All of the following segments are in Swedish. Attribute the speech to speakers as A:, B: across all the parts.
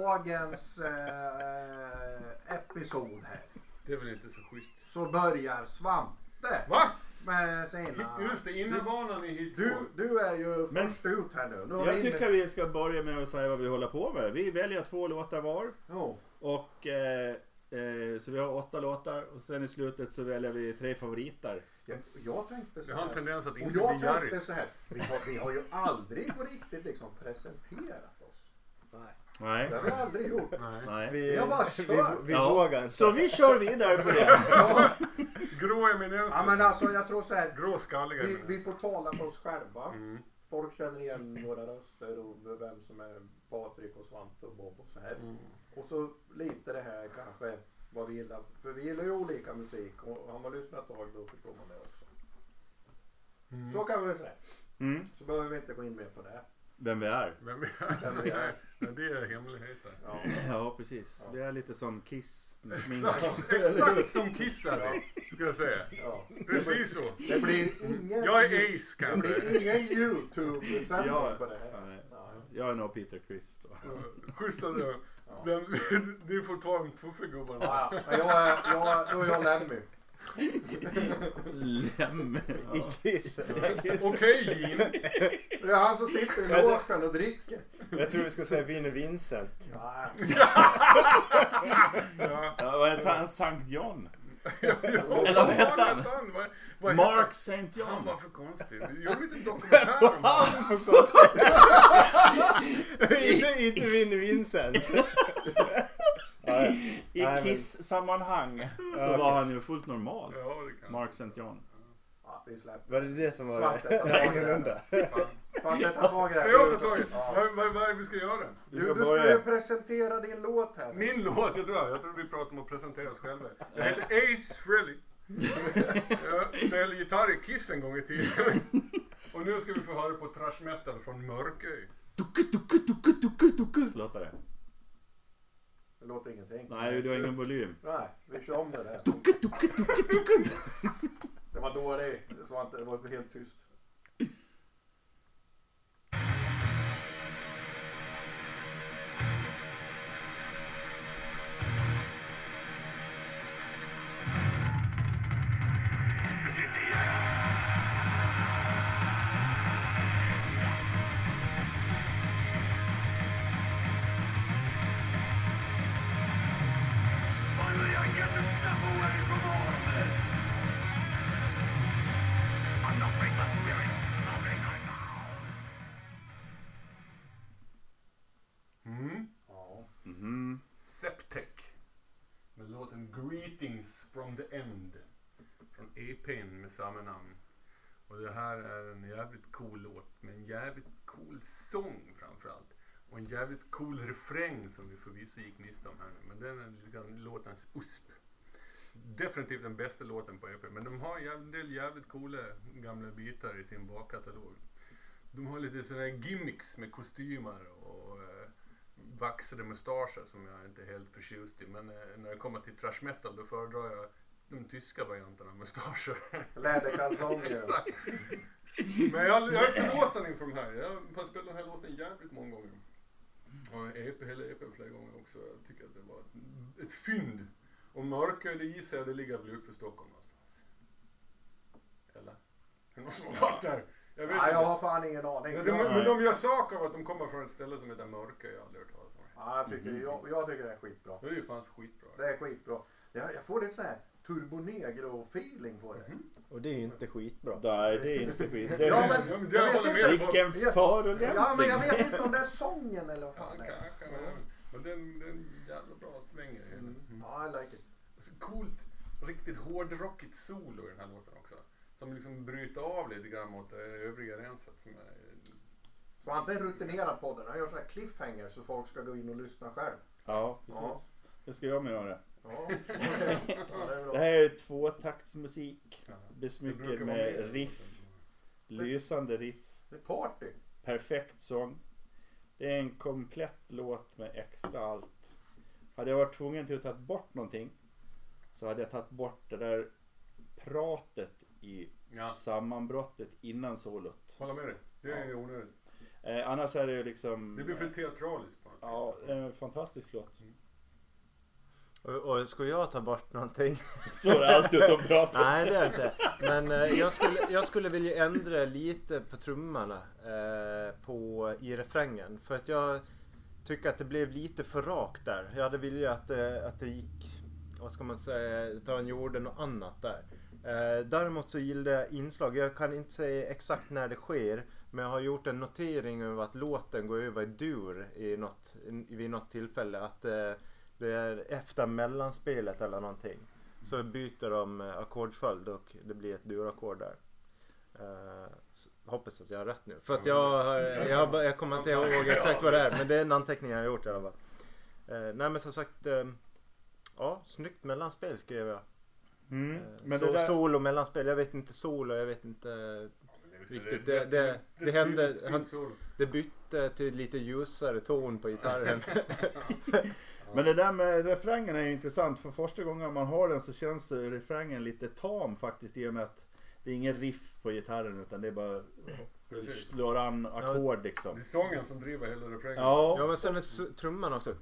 A: dagens eh, episod här
B: Det är väl inte så schysst.
A: så börjar Svante
B: Va?
A: med sina...
B: Just det, innebanan i hit
A: Du, du är ju
C: Men-
A: först ut här nu. nu har
C: Jag
A: vi-
C: tycker vi ska börja med att säga vad vi håller på med. Vi väljer två låtar var.
A: Jo,
C: Och, eh, eh, så vi har åtta låtar och sen i slutet så väljer vi tre favoriter.
A: jag, jag tänkte
B: Vi
A: så
B: har en
A: här.
B: tendens att
A: Och
B: inte
A: jag
B: bli
A: tänkte
B: Jaris.
A: så här. Vi har, vi har ju aldrig på riktigt liksom presenterat oss.
C: Nej.
A: Det har vi aldrig gjort.
B: Nej.
C: Nej.
D: Vi,
A: Vi har bara
D: vi,
A: kört.
D: vi
C: Ja.
D: vågar inte.
C: Så vi kör vidare på det.
B: Grå
A: Ja
B: eminenser.
A: men alltså jag tror så här.
B: Gråskalliga
A: Vi,
B: eminenser.
A: vi får tala för oss själva.
B: Mm.
A: Folk känner igen våra röster och vem som är Patrik och Svante och Bob och så här.
B: Mm.
A: Och så lite det här kanske vad vi gillar. För vi gillar ju olika musik och har man lyssnat ett tag då förstår man det också.
B: Mm.
A: Så kan vi väl säga.
C: Mm.
A: Så behöver vi inte gå in mer på det.
C: Vem vi är.
B: Men, vi-
A: Vem vi är.
B: men det är hemligheter.
A: Ja.
C: Ja precis. Vi är lite som Kiss. med smink.
B: Exakt, exakt som Kiss är det, ska jag säga.
A: Ja.
B: Precis så.
A: Det blir ingen,
B: Jag är Ace kan
A: det
B: jag säga.
A: blir ingen YouTube-sändning
C: Ja.
A: på det här.
C: Nej.
A: Nej.
C: Eh, Jag är nog Peter Chris då.
B: Schysst av dig. Vem- Du får ta de tuffa gubbarna.
A: Ja, men jag, är- jag, då är jag Lemmy.
C: Lem i Kiss.
B: Okej Gene.
A: Det är han som sitter i logen och dricker.
D: Jag tror du skulle säga Vinnie Vincent.
A: Nej.
B: Ja.
C: Ja, Vad hette han? Sankt John?
B: Eller
C: vad hette han?
B: Vad- vad hette
C: Mark St.
B: Han
C: John.
B: var för konstig. Gör vi inte en dokumentär om honom?
D: inte inte Vinnie Vincent. Nej.
C: I
D: Nej, men-
C: Kiss-sammanhang så
D: okej.
C: var han ju fullt normal.
B: Ja, det kan
C: Mark St. John.
A: Ja, vi släpper.
D: Var det det som var
A: Svante,
D: det?
A: ta
D: Nej,
A: tag i det.
D: ingalunda.
A: Svante, ta tag i det här.
B: Jag tar tag i
A: Ja.
B: Vad- Vad vad är det vi ska göra?
D: Vi
A: Du,
D: ska
A: du ska ju
D: börja.
A: presentera din låt här.
B: Min låt, jag tror, jag tror vi pratar om att presentera oss själva. Jag heter Ace Frehley. Jag spelade gitarr i Kiss en gång i tiden. Och nu ska vi få höra på thrash metal från Mörkö.
C: Tuku, tuku, tuku, tuku, tuku. Låter det?
A: Det låter ingenting.
C: Nej, du har ingen volym.
A: Nej, vi kör om det där.
C: Tuku, tuku, tuku, tuku.
A: Det var dåligt. Det var, inte, det var helt tyst.
E: Finally, I get to step away from all of this. I'm not being the spirit. I'm being my vows.
B: Mm.
A: Ja.
C: Mhm.
B: Septec. Med låten Greetings from the End. Från EPn med samma namn. Och det här är en jävligt cool låt med en jävligt cool sång framförallt. Och en jävligt cool refräng som vi förvisso gick miste om här nu. Men den är lite grann låtens USP. Definitivt den bästa låten på EPn. Men de har jäv- en del jävligt coola gamla bitar i sin bakkatalog. De har lite sådana här gimmicks med kostymer och eh, vaxade mustascher som jag inte är helt förtjust i. Men eh, när det kommer till thrash metal då föredrar jag de tyska varianterna av mustascher.
A: Läderkalsonger.
B: Exakt. Men jag, jag är förlåten inför de här. Jag har spelat den här låten jävligt många gånger. Och EP, hela EPn flera gånger också. Jag tycker att det var ett, ett fynd. Och mörker, det gissar jag, det ligger väl ut för Stockholm någonstans. Eller? Är det någon som har varit där? Jag vet
A: Nej, jag
B: inte.
A: har fan ingen aning.
B: Men
A: Jag,
B: de,
A: ja,
B: men de gör sak av att de kommer från ett ställe som heter Mörkö. Jag har aldrig hört talas om det.
A: jag, tycker, jag, jag tycker det är skitbra.
B: Det är ju fan skitbra.
A: Det är skitbra. Jag, jag får lite sån här turbonegro-feeling på
B: Mm.
A: det.
D: Och det är inte skitbra.
C: Nej, det är inte skit. Det
A: Ja,
C: är...
A: men,
B: Ja, men det
A: jag
B: håller
A: vet
B: med.
A: inte.
C: Vilken förolämpning.
A: Ja, men jag vet inte om det är sången eller vad
B: Ja,
A: fan det är.
B: kanske. Men den, den jävla bra svänger. Mm.
A: Ja, I like it.
B: Så coolt, riktigt hårdrockigt solo i den här låten också. Som liksom bryter av lite grann mot det övriga renset. Som är,
A: Svante är rutinerad på den. Han gör såna här cliffhangers så folk ska gå in och lyssna själv.
C: Ja,
A: Ja.
C: precis. Det ska jag med göra.
A: Ja, okej. ja, det är
C: Det
A: bra.
C: här är tvåtaktsmusik.
B: det
C: Besmyckad
B: brukar vara mer-
C: med riff. Lysande riff.
A: Det är party.
C: Perfekt sång. Det är en komplett låt med extra allt. Hade jag varit tvungen till att ta bort någonting så hade jag tagit bort det där pratet i
B: Ja,
C: sammanbrottet innan solot.
B: håller med dig. Det är onödigt.
C: Eh, annars är det ju liksom...
B: Det blir för teatraliskt. på något
C: Ja, en fantastisk låt.
D: Och, och ska jag ta bort någonting?
C: Så är det alltid utom prata.
D: Nej det är det inte. Men eh, jag, skulle, jag skulle vilja ändra lite på trummorna eh, på, i refrängen. För att jag tycker att det blev lite för rakt där. Jag hade velat att, det- att det gick, vad ska man säga, ta en gjorde något annat där. Eh, däremot så gillar jag inslag. Jag kan inte säga exakt när det sker. Men jag har gjort en notering över att låten går över i dur i något, i, vid något tillfälle. Att eh, det är efter mellanspelet eller någonting. Så byter de eh, ackordföljd och det blir ett durackord där. Eh, så- hoppas att jag har rätt nu. För att jag, har- jag, har bara- jag kommer inte ihåg exakt vad det är. Men det är en anteckning jag har gjort i alla fall. Eh, nej men som sagt. Eh, ja, snyggt mellanspel skrev jag.
C: Mm.
D: Eh,
C: Men
D: så,
C: det där,
D: Solo mellanspel. Jag vet inte solo. Jag vet inte. Riktigt, det- det-
B: typ-
D: det hände- han- Det bytte till lite ljusare ton på gitarren.
C: men det där med refrängen är ju intressant. För första gången man har den så känns eh, refrängen lite tam faktiskt. I och med att det är ingen riff på gitarren utan det är bara
B: Precis.
C: slår an ackord
B: Det
C: liksom.
B: är sången som driver hela refrängen.
D: Ja
C: Ja,
D: men sen är s- trumman också.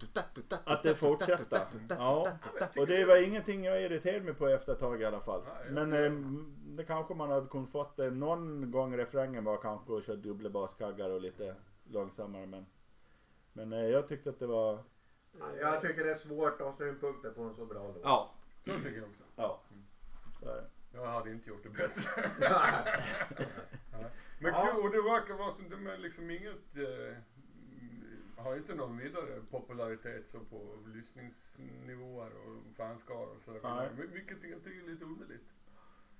C: att det fortsätter. Ja. Och det var ingenting jag irriterade mig på efter ett tag i alla fall.
B: Nej, jag
C: Men
B: tycker-
C: ehm, det kanske man hade kunnat fått det någon gång refrängen var kanske att köra dubbla baskaggar och lite långsammare men. Men eh, jag tyckte att det var.
A: Jag tycker det är svårt att ha synpunkter på en så bra låt.
C: Ja.
B: Så tycker jag också.
C: Ja. Så är det.
B: Jag hade inte gjort det bättre.
A: Nej.
B: Men
A: Ja.
B: kul, och det verkar vara som, de är liksom inget, eh, har inte någon vidare popularitet så på lyssningsnivåer och fanskar och
C: Nej.
B: sådär. Men Vilket jag tycker är lite underligt.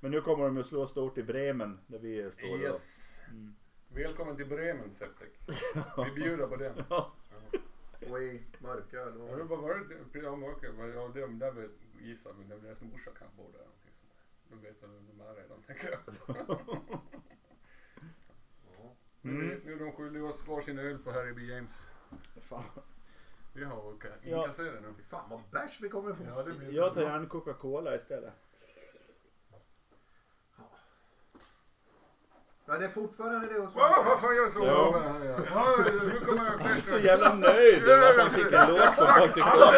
C: Men nu kommer de ju slå stort i Bremen där vi står idag.
B: Yes.
C: Mm.
B: Välkommen till Bremen Septek. Vi bjuder på den.
A: Och i mörköl.
B: Har du
A: Och...
B: bara varit ja, Mörker? Ja, de där vet, gissar, men deras morsa kanske bor där. eller någonting sånt där. De vet väl vem de är redan, tänker jag.
A: Ja.
C: Mm.
B: Nu är de skyldiga oss varsin öl på Harry B. James.
C: Fan.
B: Vi har okej.
C: Ja.
B: inkasserat nu.
A: Fy Fan vad bärs vi kommer få.
B: Ja, det blir
C: Jag
B: bra.
C: tar gärna Coca-Cola istället.
A: Ja, det är fortfarande det hos
B: Åh, vad fan gör du så? Ja.
C: Ja.
B: Ja, ja, nu kommer jag
C: Jag är
B: själv.
C: så jävla nöjd över att han fick en låt som folk tyckte om.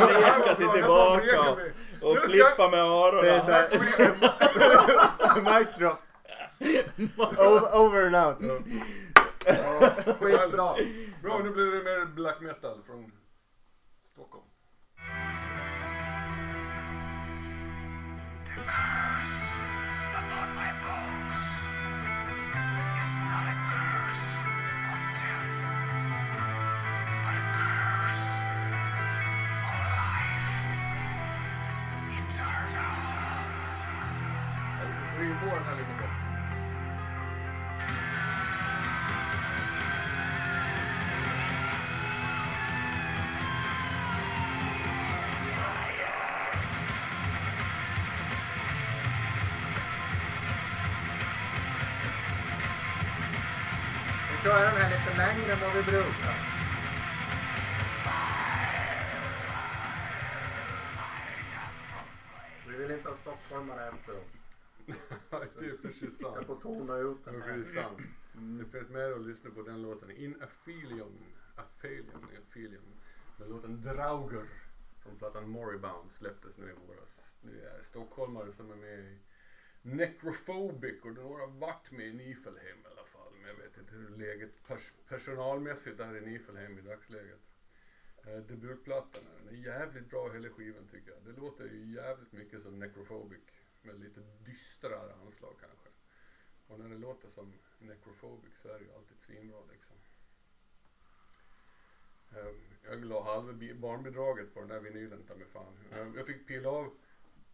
C: Vrekar sig tillbaka och flippa med
D: Det är så
C: öronen.
D: här. Mic drop. Over, over and out.
A: Skitbra.
B: Bra, nu blir det mer black metal från Stockholm.
E: The curse upon my bones is not a curse of death, but a curse of life eternal.
B: Driv på den här lite bra.
A: Vi kör den här lite längre än vad vi brukar. Vi vill inte ha stockholmare efter oss.
B: Det är precis
A: Jag
B: sant.
A: får tona ut
B: Det
A: den
B: är
A: här.
B: precis sant. Det finns mer att lyssna på den låten. In Aphelion. Aphelion. Aphelion. Med låten Drauger. Från plattan Moribund släpptes nu i våras. Det är stockholmare som är med i Necrophobic och några har varit med i Nifelheim i alla fall. Men jag vet inte hur läget pers- personalmässigt är i Nifelheim i dagsläget. Eh, debutplattan är, den är jävligt bra hela skivan tycker jag. Det låter ju jävligt mycket som Necrophobic med lite dystrare anslag kanske. Och när det låter som necrophobic så är det ju alltid svinbra liksom. Ehm, Jag la halva bi- barnbidraget på den där vinylen ta mig fan. Ehm, Jag fick pilla av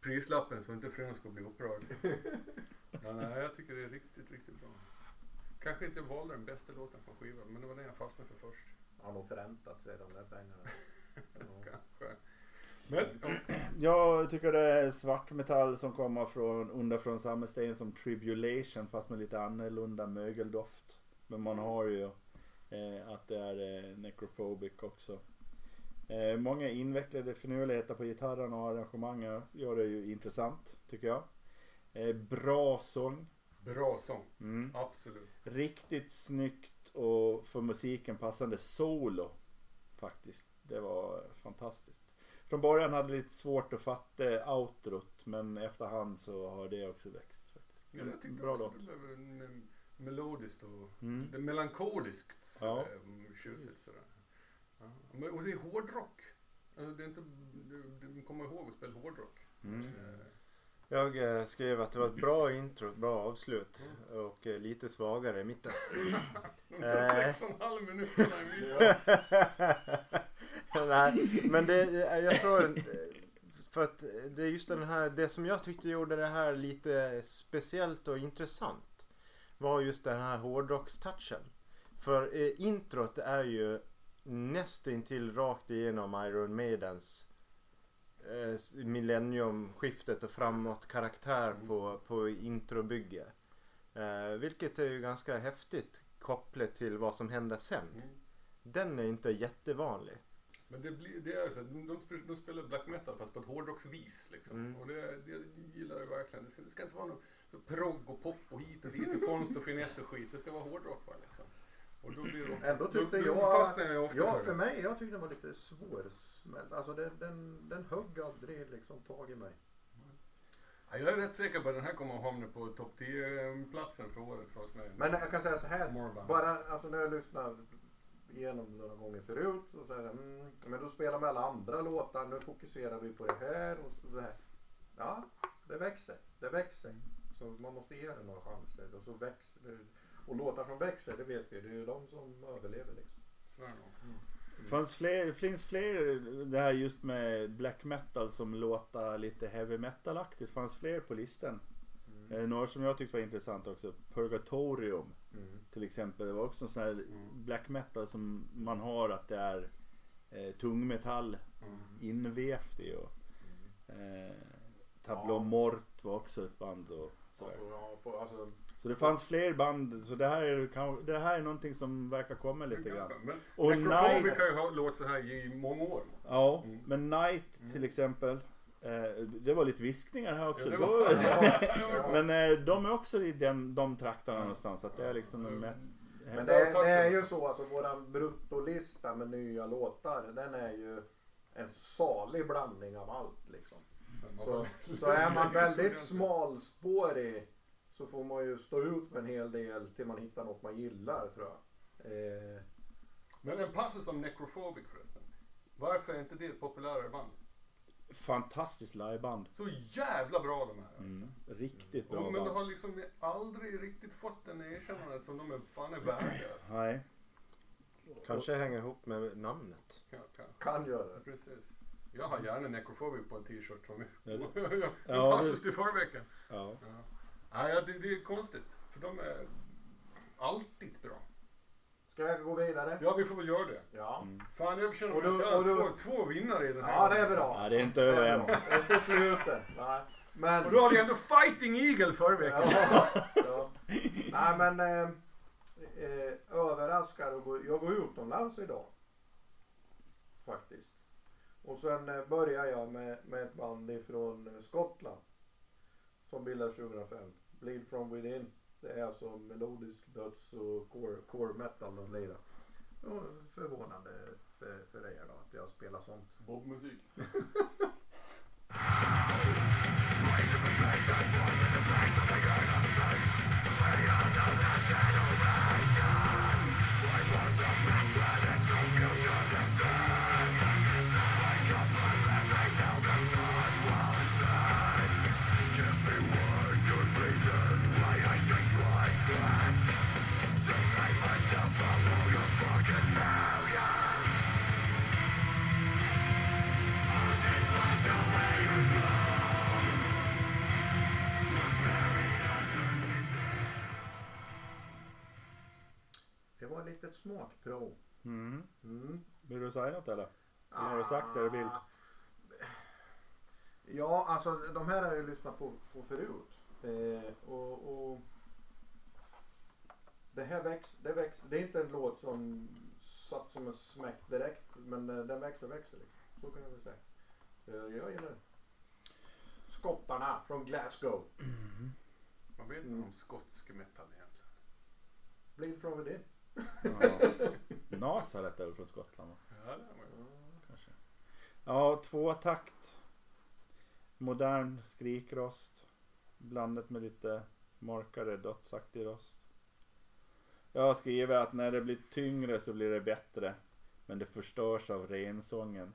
B: prislappen så inte frun skulle bli upprörd. Men nej, jag tycker det är riktigt, riktigt bra. Kanske inte valde den bästa låten från skivan, men det var den jag fastnade för först.
A: Han har förräntat sig de där pengarna. Ja.
B: Kanske. Men,
C: Jag tycker det är svartmetall som kommer från under från samma sten som Tribulation fast med lite annorlunda mögeldoft. Men man har ju eh, att det är eh, necrophobic också. Eh, många invecklade finurligheter på gitarren och arrangemangen gör det ju intressant tycker jag. Eh, bra sång.
B: Bra sång.
C: Mm.
B: Absolut.
C: Riktigt snyggt och för musiken passande solo. Faktiskt. Det var fantastiskt. Från början hade jag lite svårt att fatta outrot men efterhand så har det också växt. faktiskt.
B: Ja, jag tyckte
C: Mm, Bra
B: också
C: låt.
B: det blev en, en, melodiskt och
C: Mm.
B: det är melankoliskt.
C: Ja.
B: Ja. Tjusigt sådär. Ja. Men, och det är hårdrock. Alltså, det är inte, du, du kommer ihåg att spela hårdrock.
C: Mm.
B: Eh,
D: Jag eh, skrev att det var ett bra intro, ett bra avslut och eh, lite svagare i mitten.
B: De tar sex och en halv minut. mellan minuterna.
D: Nej, men det, jag tror eh, för att det är just den här, det som jag tyckte gjorde det här lite speciellt och intressant var just den här hårdrockstouchen. För eh, introt är ju nästintill rakt igenom Iron Maidens eh, s- millenniumskiftet och framåt karaktär på, på introbygge. Eh, vilket är ju ganska häftigt kopplat till vad som händer sen.
B: Mm.
D: Den är inte jättevanlig.
B: Men det, blir, det är ju så att de, de, de spelar black metal fast på ett hårdrocksvis liksom.
D: Mm.
B: Och det, det gillar jag verkligen. Det ska, det ska inte vara någon så progg och pop och hit och dit och konst och finess och skit. Det ska vara hårdrock va liksom. Och då blir det ofta,
A: Ändå tyckte
B: då, då
A: jag-
B: fastnar jag ofta
A: Ja,
B: för,
A: för
B: det.
A: mig. Jag tyckte den var lite svårsmält. Alltså den, den, den högg aldrig liksom tag i mig.
B: Ja, jag är rätt säker på att den här kommer att hamna på topp 10-platsen för året för oss med.
A: Men jag kan säga så här.
B: Morband.
A: Bara alltså när jag lyssnar igenom några gånger förut och så här, mm, men då spelar man alla andra låtar, nu fokuserar vi på det här och så det här. Ja, det växer, det växer. Så man måste ge det några chanser och så växer det. Och låtar som växer, det vet vi, det är ju de som överlever liksom.
B: Så är det nog. Mm.
C: Fanns fler, finns fler, det här just med black metal som låter lite heavy metal-aktigt, fanns fler på listan.
B: Mm.
C: Eh, några som jag tyckte var intressant också, Purgatorium
B: Mm.
C: till exempel. Det var också en sån här black metal som man har att det är eh, tung metall
B: Mm.
C: invävt i. Och, eh, Tableau
A: Ja.
C: Mort var också ett band och sådär.
A: Alltså, ja, på, alltså,
C: Så det fanns fler band, så det här är, kan- det här är någonting som verkar komma lite grann.
B: Men
C: Och
B: Necrophobic
C: Night-
B: har ju ha- låtit så här i många år.
C: Ja,
B: Mm.
C: men Night till exempel. Eh, det var lite viskningar här
B: Ja,
C: också.
B: det
C: Det
B: var-
C: var-
A: ja.
C: men eh, de är också i den, de trakterna
B: Mm.
C: någonstans. Att det är liksom en met-
A: Men det, är- det är ju så, alltså våran bruttolista med nya låtar, den är ju en salig blandning av allt liksom. Så, så är man väldigt smalspårig så får man ju stå ut med en hel del till man hittar något man gillar tror jag. Eh,
B: Men en passus om Necrophobic förresten. Varför är inte det ett populärare band?
C: fantastiskt liveband.
B: Så jävla bra de här.
C: Mm. Riktigt
B: Alltså.
C: bra
B: Och, men de
C: band.
B: har liksom aldrig riktigt fått den erkännandet som de är fan är värda. Alltså.
C: Nej.
D: Kanske hänger ihop med namnet.
B: Ja, kanske.
A: kan göra det.
B: Precis. Jag har gärna Necrophobic på en t-shirt som
C: Ja,
B: en
C: Ja,
B: passus till förra veckan.
C: Ja.
B: Ja. Nej, ja, det, det är konstigt. För de är alltid bra.
A: Ska jag gå vidare?
B: Ja, vi får väl göra det.
A: Ja.
B: Fan, jag känner
A: Och
B: att
A: du-
B: jag har
A: och du-
B: två, två vinnare i den här.
A: Ja det
B: gången.
A: är bra.
C: Ja, det är inte över än.
A: Inte slutet. Nej. Men...
B: Och då hade jag ändå Fighting Eagle förra veckan.
A: Ja, ja. Nej men eh, eh, överraskad och gå- jag går utomlands idag. Faktiskt. Och sen eh, börjar jag med, med ett band ifrån eh, Skottland. Som bildades 2005. Bleed from within. Det är alltså melodisk döds och core, core metal de lirar. Ja, Förvånande för, för er då att jag spelar sånt.
B: Bobmusik.
A: Det var ett litet smakprov.
C: Mm.
A: Mm.
C: Vill du säga något eller? Eller har du sagt det du vill?
A: Ah. Ja, alltså de här har jag ju lyssnat på, på förut. Eh, och, och det här växer, det växer. Det är inte en låt som satt som en smäck direkt, men eh, den växer och växer. Liksom. Så kan jag väl säga. Eh, jag gillar det. Skottarna från Glasgow.
B: Vad vet man
A: Mm.
B: om skotsk metal egentligen?
A: Bleed from within.
C: Ja. Nasaret är väl från Skottland va?
B: Ja, det var ju-
C: Kanske. Ja, tvåtakt. Modern skrikrost. Blandat med lite mörkare dödsaktig rost. Jag har skrivit att när det blir tyngre så blir det bättre. Men det förstörs av rensången.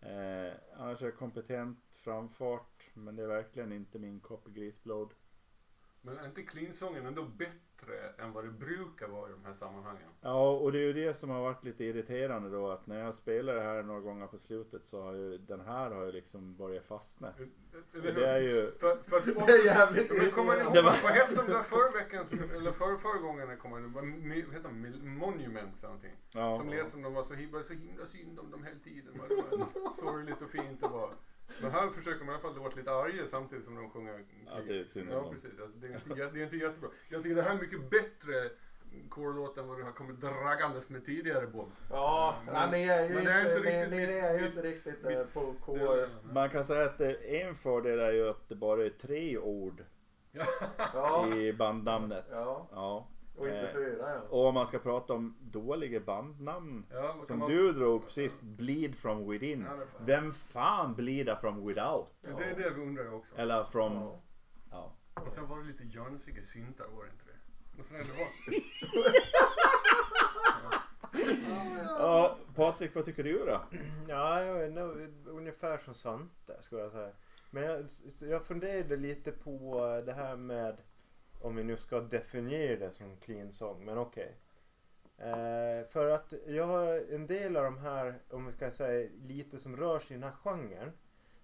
C: Eh, annars är det kompetent framfart. Men det är verkligen inte min kopp grisblod.
B: Men är inte clean-sången ändå bättre än vad det brukar vara i de här sammanhangen?
C: Ja, och det är ju det som har varit lite irriterande då att när jag spelar det här några gånger på slutet så har ju den här har ju liksom börjat fastna.
B: Eller
C: Det är
B: hur?
C: ju...
B: För, för att
A: Det är jävligt
B: Men kommer ni
A: irriterande.
B: ihåg,
C: Det var-
B: vad hette de där förra veckan, som- eller förra, förra gången det kom, det var, my- vad hette de, Mil- Monuments eller någonting?
C: Ja.
B: Som lät som de var så himla, så himla synd om dem hela tiden. va? Det var sorgligt och fint och bara. Men här försöker man i alla fall låta lite arga samtidigt som de sjunger krig.
C: Att det är synd om
B: Ja,
C: dem.
B: precis. Alltså, det, är inte, jä- det är inte jättebra. Jag tycker det här är mycket bättre korlåt än vad du har kommit dragandes med tidigare Bob.
A: Ja,
B: Men-
A: men, ni är ju
B: Mm. men det
A: inte,
B: är inte
A: ni,
B: riktigt
A: ni
B: mitt-
A: är ju inte
B: mitt-
A: riktigt
B: mitt
A: eh, på K.
B: stöd.
C: Man kan säga att det- en fördel är ju att det bara är tre ord
A: Ja,
C: i bandnamnet.
A: Ja.
C: Ja.
A: och inte
C: Eh,
A: fyra ja.
C: Och om man ska prata om dåliga bandnamn.
B: Ja, vad kan
C: Som
B: man-
C: du drog upp sist, Bleed from within.
B: Ja, det är fan.
C: Vem fan bleedar from without?
B: Det är det vi undrar också.
C: Eller from...
A: Ja.
C: Ja.
B: Och sen var det lite jönsiga syntar, var det inte det? Och sen är det var...
C: ja. Patrik, vad tycker du då?
D: Ja, jag är nog ungefär som Svante skulle jag säga. Men jag, s- jag funderade lite på det här med om vi nu ska definiera det som clean song, men okej. Eh, för att jag har en del av de här, om vi ska säga lite som rör sig i den här genren.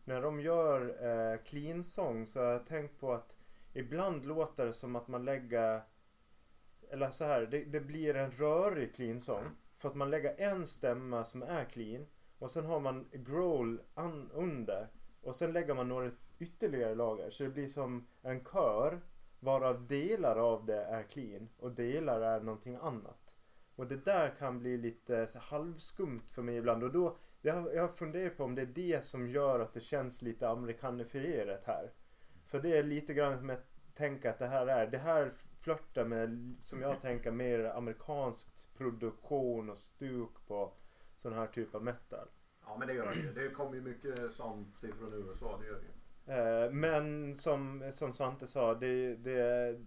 D: När de gör eh, clean song så har jag tänkt på att ibland låter det som att man lägger eller så här, det, det blir en rörig clean song. För att man lägger en stämma som är clean och sen har man growl an, under och sen lägger man några ytterligare lager så det blir som en kör varav delar av det är clean och delar är någonting annat. Och det där kan bli lite så halvskumt för mig ibland och då jag, jag funderar på om det är det som gör att det känns lite amerikanifierat här. För det är lite grann som jag tänker att det här är. Det här flörtar med, som jag tänker, mer amerikansk produktion och stuk på sån här typ av metal.
A: ja, men det gör det ju. Det kommer ju mycket sånt ifrån USA. Det gör det ju.
D: Eh, Men som, som Svante sa, det, det är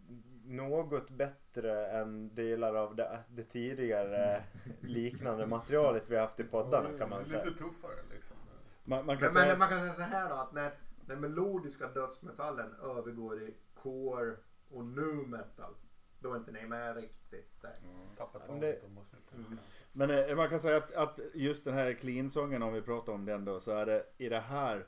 D: något bättre än delar av det, det tidigare liknande materialet vi haft i poddarna kan man säga.
B: Lite tuffare liksom.
C: Man, man kan
A: Men,
C: säga...
A: men man kan säga så här då att när den melodiska dödsmetallen övergår i core och nu metal. Då är inte ni med riktigt där.
B: Tappat
D: Ja, men det-
B: taget om oss lite.
C: Men eh, man kan säga att, att just den här clean-sången om vi pratar om den då så är det i det här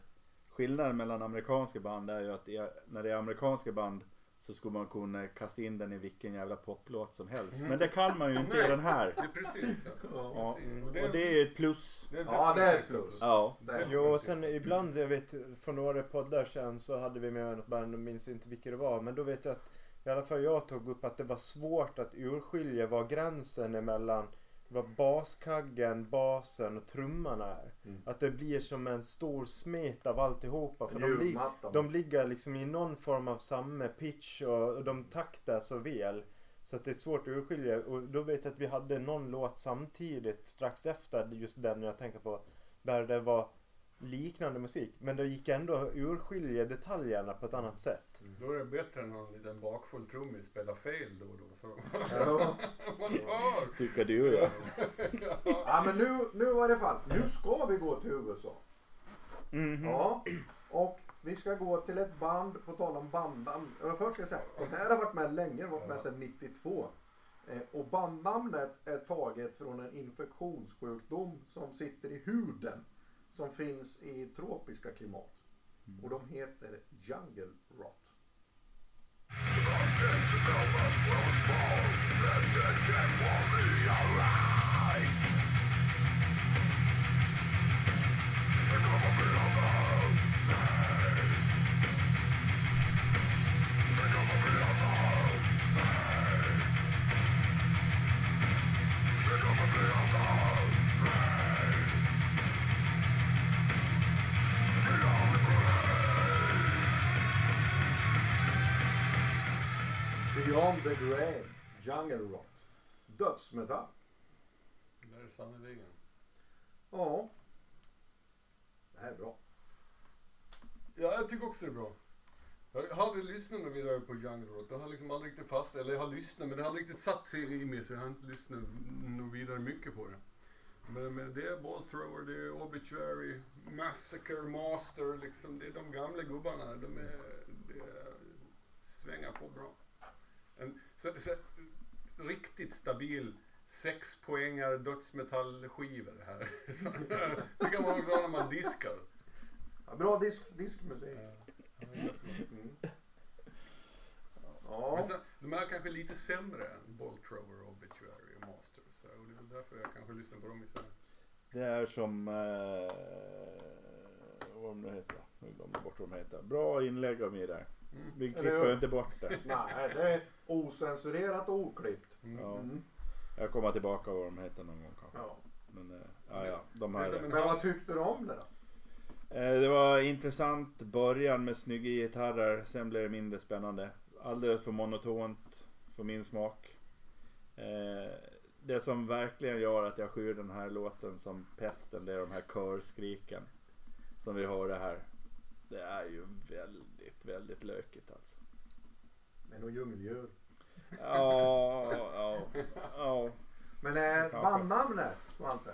C: skillnaden mellan amerikanska band är ju att i- när det är amerikanska band så skulle man kunna kasta in den i vilken jävla poplåt som helst. Men det kan man ju inte i den här.
B: Det är precis så.
C: Ja. mm.
B: Precis.
C: Och det är ett plus.
B: det är
A: Ja, det är ett plus.
C: Ja.
A: Där.
D: Jo, och sen ibland, jag vet för några poddar sedan så hade vi med något band och minns inte vilka det var. Men då vet jag att i alla fall jag tog upp att det var svårt att urskilja var gränsen emellan vad baskaggen, basen och trumman är.
A: Mm.
D: Att det blir som en stor smet av alltihopa. För de, lig-
A: Ljudmattan.
D: de ligger liksom i någon form av samma pitch och, och de taktar så väl. Så att det är svårt att urskilja. Och då vet jag att vi hade någon låt samtidigt strax efter just den jag tänker på. Där det var liknande musik. Men det gick ändå att urskilja detaljerna på ett annat sätt.
B: Då är det bättre än någon liten bakfull trummis spelar fel då och då. Så
A: Ja.
B: man hör.
C: Tycker du ja.
A: Ja men nu, nu var det fall. Nu ska vi gå till USA. Ja. Och vi ska gå till ett band, på tal om bandnamn. Eller Först ska jag säga, det här har varit med länge, det har varit med sedan 92. Eh, Och bandnamnet är taget från en infektionssjukdom som sitter i huden. Som finns i tropiska klimat. Och de heter Jungle Rot.
E: They
A: Beyond the Grave, Jungle Rock, dödsmetall.
B: Det är sannerligen.
A: Ja. Det här är bra.
B: Ja, jag tycker också det är bra. Jag har aldrig lyssnat något vidare på Jungle Rock. Jag har liksom aldrig riktigt fast, eller jag har lyssnat men det har aldrig riktigt satt sig i mig så jag har inte lyssnat något vidare mycket på det. Men, men det är Ballthrower, det är Obituary, Massacre, Master liksom. Det är de gamla gubbarna. De är, det är, svängar på bra. En, så, så, riktigt stabil sex poängar dödsmetallskivor här. Så, det kan man också ha när man diskar.
A: Ja, bra disk, diskmusik. Mm.
B: Men
A: Ja.
B: sen, de här kanske är lite sämre än Boltrover, Obituary och Master. Så, och det är väl därför jag kanske lyssnar på dem istället.
C: Det är som... Eh, vad de nu heter. Nu glömmer jag bort vad de heter. Bra inlägg av mig där.
B: Mm.
C: Vi klipper inte bort det.
A: Nej, det är osensurerat och oklippt.
B: Mm.
C: Ja.
A: Mm.
C: Jag kommer tillbaka vad de heter någon gång kanske.
A: Ja.
C: Men eh, ja, ja, de här.
B: Det är som en-
A: Men vad tyckte du om det då?
C: Eh, det var intressant början med snygga gitarrer. Sen blev det mindre spännande. Alldeles för monotont för min smak. Eh, det som verkligen gör att jag skyr den här låten som pesten det är de här körskriken. Som vi hörde här. Det är ju väldigt, väldigt lökigt alltså.
A: Det är nog djungeldjur.
C: Ja, ja, ja.
A: Men eh,
C: Kanske.
A: bandnamnet Svante?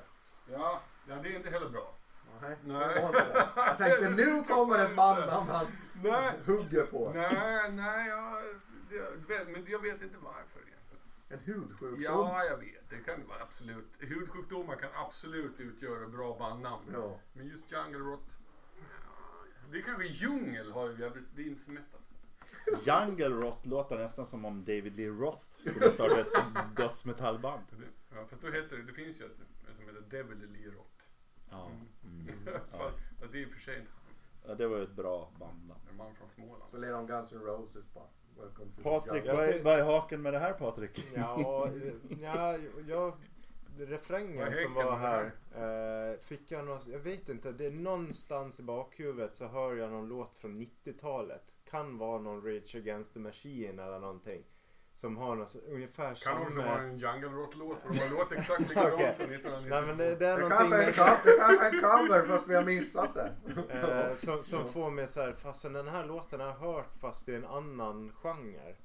B: Ja. ja, det är inte heller bra.
A: Nej.
B: Nej.
A: det var inte det. Jag tänkte nu kommer ett bandnamn han
B: Nej,
A: hugger på.
B: nej, nej jag, det, vet- men jag vet inte varför egentligen.
A: En hudsjukdom.
B: Ja, jag vet. Det kan vara absolut. Hudsjukdomar kan absolut utgöra bra bandnamn.
A: Ja.
B: Men just Jungle Rot. ja, Det är kanske djungel har ju jävligt, det är inte smättat.
C: Jungle Roth låter nästan som om David Lee Roth skulle starta ett dödsmetallband.
B: Ja, fast då heter det, det finns ju ett som heter Devil Lee Rot.
C: Ja. Mm.
B: Ja. Det är i och för sig inte
C: ja, det var ju ett bra band. då.
B: en man från Småland.
A: Så lirar de Guns N' Roses bara. Welcome to the
C: Patrik,
A: jungle.
C: vad
D: Jag
C: är,
D: ty-
C: vad är haken med det här Patrik?
D: Ja, eh, ja, jag,
B: Vad
D: refrängen
B: är
D: som
B: häcken
D: var
B: med
D: här. Eh, fick jag någon, jag vet inte, det är någonstans i bakhuvudet så hör jag någon låt från 90-talet. Kan vara någon Rage Against the Machine eller någonting. Som har något, ungefär
B: Kan också
D: samma...
B: vara en Jungle Rot-låt för de har låtit exakt likadant
D: Okej.
B: som
D: Nej
B: 1992.
D: men det, det är
A: Det
D: någonting
A: kanske är en cover- det
D: med,
A: kanske är en cover fast vi har missat det.
D: eh, som, som får mig så här, fasen den här låten har jag hört fast i en annan genre.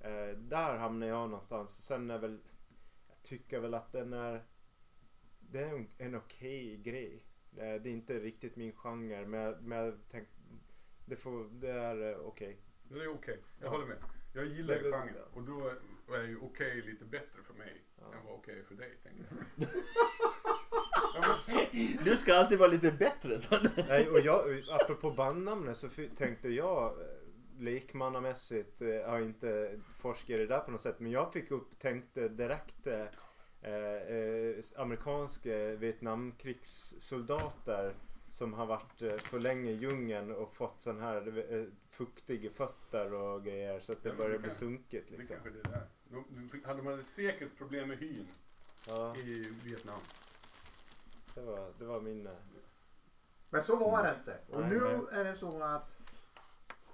D: Eh, där hamnar jag någonstans. Sen är väl, jag tycker väl att den är, det är en, en okej grej. Eh, det är inte riktigt min genre men, jag- men jag tänk, det, får, det är eh, okej.
B: Det är okej, jag håller med. Jag gillar
D: Det är väl-
B: genren och då är ju okej lite bättre för mig
D: Ja.
B: än vad okej är för dig. Tänker jag.
D: Liksom.
C: Du ska alltid vara lite bättre. Så.
D: Nej, och jag, apropå bandnamnet så fi- tänkte jag eh, lekmannamässigt, eh, jag har inte forskat i det där på något sätt, men jag fick upp, tänkte direkt eh, eh, amerikanska Vietnamkrigssoldater som har varit eh, för länge i djungeln och fått sån här eh, fuktiga fötter och grejer så att det
B: Ja, men
D: börjar
B: det
D: bli
B: kan-
D: sunkigt
B: Det är
D: liksom.
B: kanske det där. De, de, hade- de hade säkert problem med hyn
D: Ja,
B: i Vietnam.
D: det var, det var min... eh,
A: Men så var det inte. Och
D: Nej,
A: nu
D: nej.
A: är det så att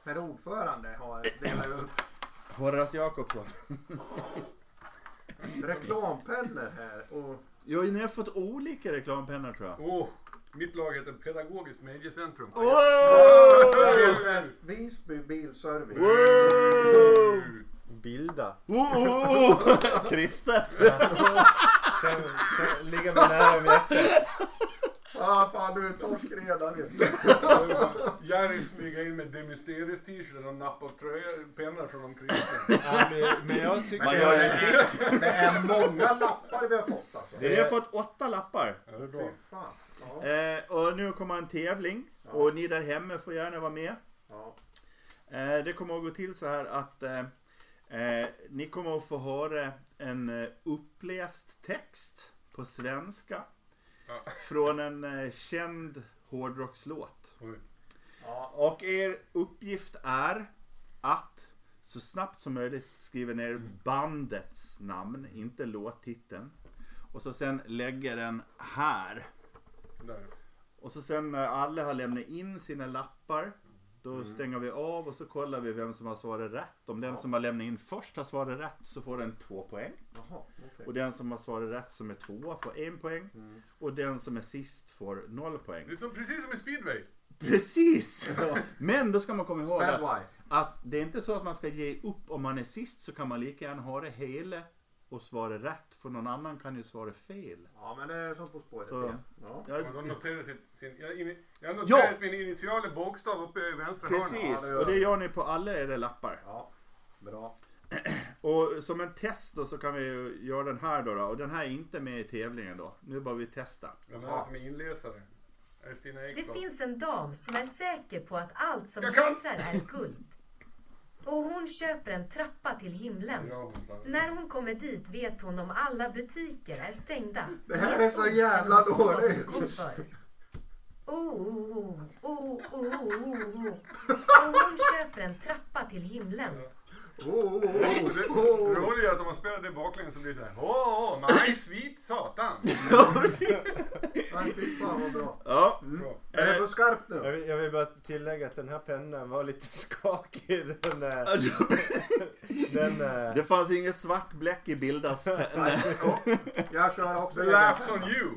A: herr ordförande har delat ut
C: Horace Jakobsson.
A: reklampennor här. Och
C: Jo, ni har fått olika reklampennor tror jag.
B: Åh, mitt lag heter Pedagogiskt Mediecentrum.
C: Wow!
A: Även Visby Bilservice.
C: Mm. Wow!
D: Bilda.
C: Oh, oh, oh. Kristet!
D: Känn, känn, ligga mig nära om hjärtat.
A: Ah, fan, du är torsk redan ju.
B: Jerry smyger in med Demysterius t-shirt och nappar tröja, pennor från de kristna.
D: Ja, men, men jag tycker...
C: Man gör ju sitt.
A: Det är många lappar vi har fått alltså.
D: Det-
C: Ni har fått åtta lappar.
B: Ja, det är bra.
A: Fy fan. Ja.
C: Eh, och nu kommer en tävling. Och ni där hemma får gärna vara med.
A: Ja.
C: Eh, det kommer att gå till så här att eh, eh, ni kommer att få höra en eh, uppläst text på svenska
B: Ja.
C: från en eh, känd hårdrockslåt.
B: Oj.
A: Ja.
C: Och er uppgift är att så snabbt som möjligt skriva ner
B: Mm.
C: bandets namn, inte låttiteln. Och så sen lägga den här.
B: Där.
C: Och så sen när alla har lämnat in sina lappar Då
B: Mm.
C: stänger vi av och så kollar vi vem som har svarat rätt. Om den som har lämnat in först har svarat rätt så får den två poäng.
A: Jaha, okej.
C: Och den som har svarat rätt som är tvåa får en poäng.
B: Mm.
C: Och den som är sist får noll poäng.
B: Det är som, precis som i speedway.
C: Precis! Men då ska man komma ihåg att,
A: Spadway.
C: att det är inte så att man ska ge upp om man är sist så kan man lika gärna ha det hela och svara rätt för någon annan kan ju svara fel.
A: Ja men det är som På spåret
C: Så-
A: igen. Ja.
C: Ja,
B: Man noterar sin, sin, jag, ini- jag har noterat
C: Ja!
B: min initiala bokstav uppe i vänstra hörna.
C: precis, och det gör ni på alla era lappar.
A: ja. Bra.
C: Och som en test då så kan vi ju göra den här då, då. Och den här är inte med i tävlingen då. Nu bara vi testa.
B: Den här som är inläsare. Är det Stina
F: Det
B: Ekblad?
F: finns en dam som är säker på att allt som
B: Jag kan!
F: glittrar är guld. Och hon köper en trappa till himlen.
B: Ja, hon sa det.
F: När hon kommer dit vet hon om alla butiker är stängda.
A: Det här är så jävla dåligt.
F: Oh, oh, oh, oh, oh, oh, oh. Och hon köper en trappa till himlen.
A: Oh, oh, oh,
B: Och Det
A: oh.
B: det roliga är att om man spelar det baklänges så blir det såhär Åh, oh, my sweet satan!
A: Nej, fy fan vad bra.
C: Ja.
B: Bra.
A: Är det för skarpt nu?
D: Jag vill, jag vill bara tillägga att den här pennan var lite skakig. Den, eh, den, eh,
C: Det fanns inget svart bläck i Bildas
A: Jag kör också.
B: The
A: egen.
B: laughs on you!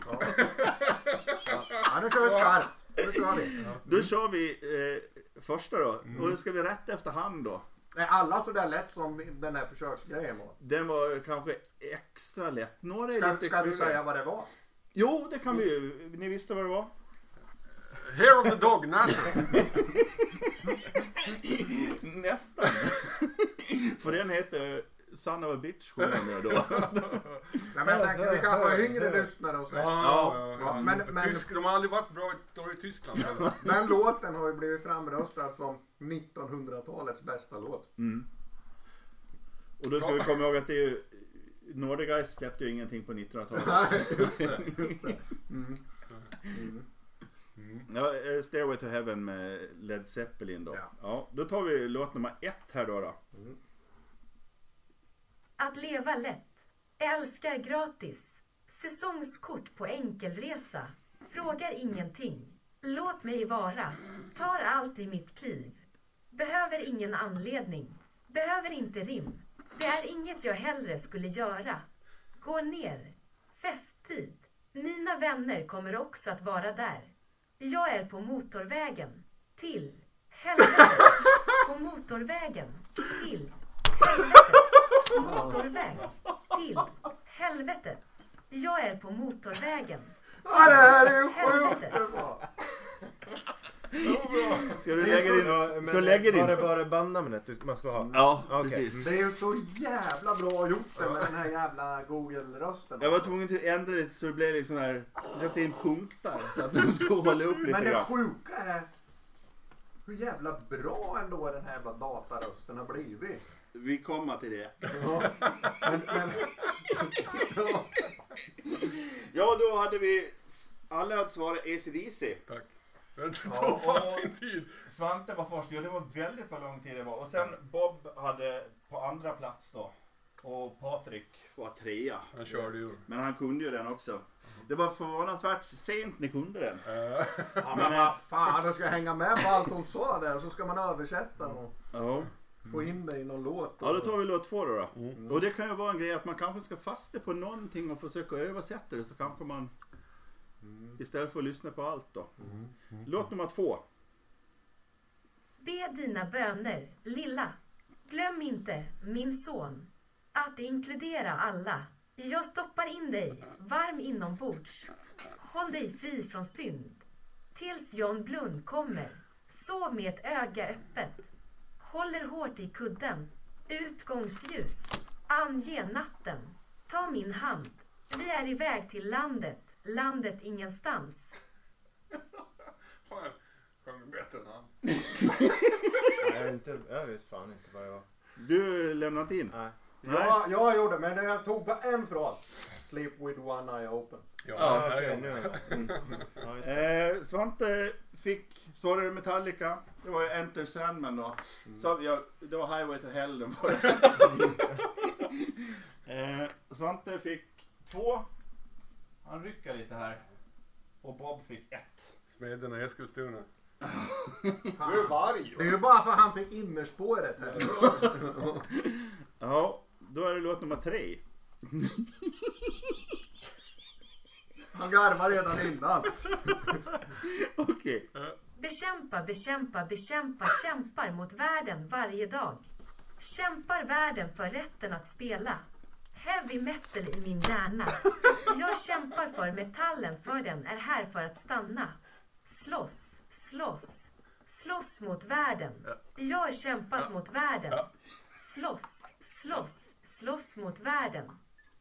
A: Ja, nu kör vi skarpt. Nu kör vi.
C: Då kör vi eh, första då.
A: Mm.
C: Och då ska vi rätta efter hand då.
A: Är alla sådär lätt som den här försöksgrejen var?
C: Den var kanske extra lätt. Några är
A: Ska,
C: lite
A: ska du
C: kluriga.
A: säga vad det var?
C: Jo, det kan vi ju. Ni visste vad det var?
B: Hair of the dog Nasser!
C: Nästan. För den heter Son of a bitch sjunger nu då.
A: Nej, men jag tänkte, vi kanske har yngre lyssnare och sådär.
B: Ja,
A: ja, men- men-
B: Tysk, de har aldrig varit bra i- i Tyskland. heller.
A: Den låten har ju blivit framröstad som 1900-talets bästa låt.
C: Och då ska vi komma ihåg att det är ju... Nordegeist släppte ju ingenting på 1900-talet.
A: Just det, just det.
C: Ja, eh, Stairway to Heaven med Led Zeppelin då. Ja.
A: Ja.
C: då tar vi låt nummer ett här då. då.
F: Att leva lätt. Älskar gratis. Säsongskort på enkelresa. Frågar ingenting. Låt mig vara. Tar allt i mitt kliv. Behöver ingen anledning. Behöver inte rim. Det är inget jag hellre skulle göra. Gå ner. Festtid. Mina vänner kommer också att vara där. Jag är på motorvägen. Till. Helvete. På motorvägen. Till. Helvete. Motorväg. Till. Helvete. Jag är på motorvägen.
A: Ja, det här är ju
F: Helvete.
A: sjukt bra.
C: Ska du
D: det är
C: lägga
D: så- Mm.
C: din?
D: men eh,
C: Ska du lägga
D: Var det
C: din?
D: bara bandnamnet du- man ska ha?
C: Ja,
D: Okej.
C: precis.
A: Det är ju så jävla bra gjort det med den här jävla Google-rösten.
C: Jag var tvungen att ändra lite så det blev liksom här, sätta in punkter så att de skulle hålla upp lite
A: Men det
C: grann.
A: sjuka är hur jävla bra ändå den här jävla datarösten har blivit.
C: Vi kommer till det.
A: Ja, men, men, ja,
C: Ja, då hade vi alla hade svarat ACDC.
B: Tack. Det tog fan sin tid.
C: Svante var först, ja det var väldigt vad lång tid det var. Och sen Bob hade på andra plats då. Och Patrik var trea.
B: Han körde ju.
C: Men han kunde ju den också. Det var förvånansvärt sent ni kunde den.
B: Eh,
A: ja, men vad fan, jag ska hänga med på allt hon sa där och så ska man översätta och
C: Ja.
A: få in det i någon låt.
C: Ja, då tar vi låt två då. då. Och det kan ju vara en grej att man kanske ska fasta på någonting och försöka översätta det så kanske man istället för att lyssna på allt då. Låt nummer två.
F: Be dina böner, lilla. Glöm inte, min son. Att inkludera alla. Jag stoppar in dig, varm inombords. Håll dig fri från synd. Tills John Blund kommer. Sov med ett öga öppet. Håller hårt i kudden. Utgångsljus. Ange natten. Ta min hand. Vi är iväg till landet. Landet ingenstans.
B: Fan, sjöng bättre än han.
D: Nej, jag, är inte, jag vet fan inte vad jag var.
C: Du lämnar inte in?
D: Nej.
C: Nej.
A: Ja, jag gjorde men jag tog bara en fras. Sleep with one eye open.
B: Ja,
D: Ah,
B: här
D: okej,
B: är
D: nu
B: jag.
D: är jag. Ja, just det.
C: Eh, Svante fick, svarade Metallica. Det var ju Enter Sandman då. Så jag, det var Highway to Hell den var eh, Svante fick två. Han rycker lite här. Och Bob fick ett.
B: Smederna i Eskilstuna.
A: Fan.
G: Du är varg.
A: Det är ju bara för han fick innerspåret här.
C: Ja, då är det låt nummer tre.
A: Han garvar redan innan.
C: Okej.
F: Bekämpa, bekämpa, bekämpa, kämpar mot världen varje dag. Kämpar världen för rätten att spela. Heavy metal i min hjärna. Jag kämpar för metallen för den är här för att stanna. Slåss, slåss, slåss mot världen. Jag har kämpat mot världen. Slåss, slåss, slåss mot världen.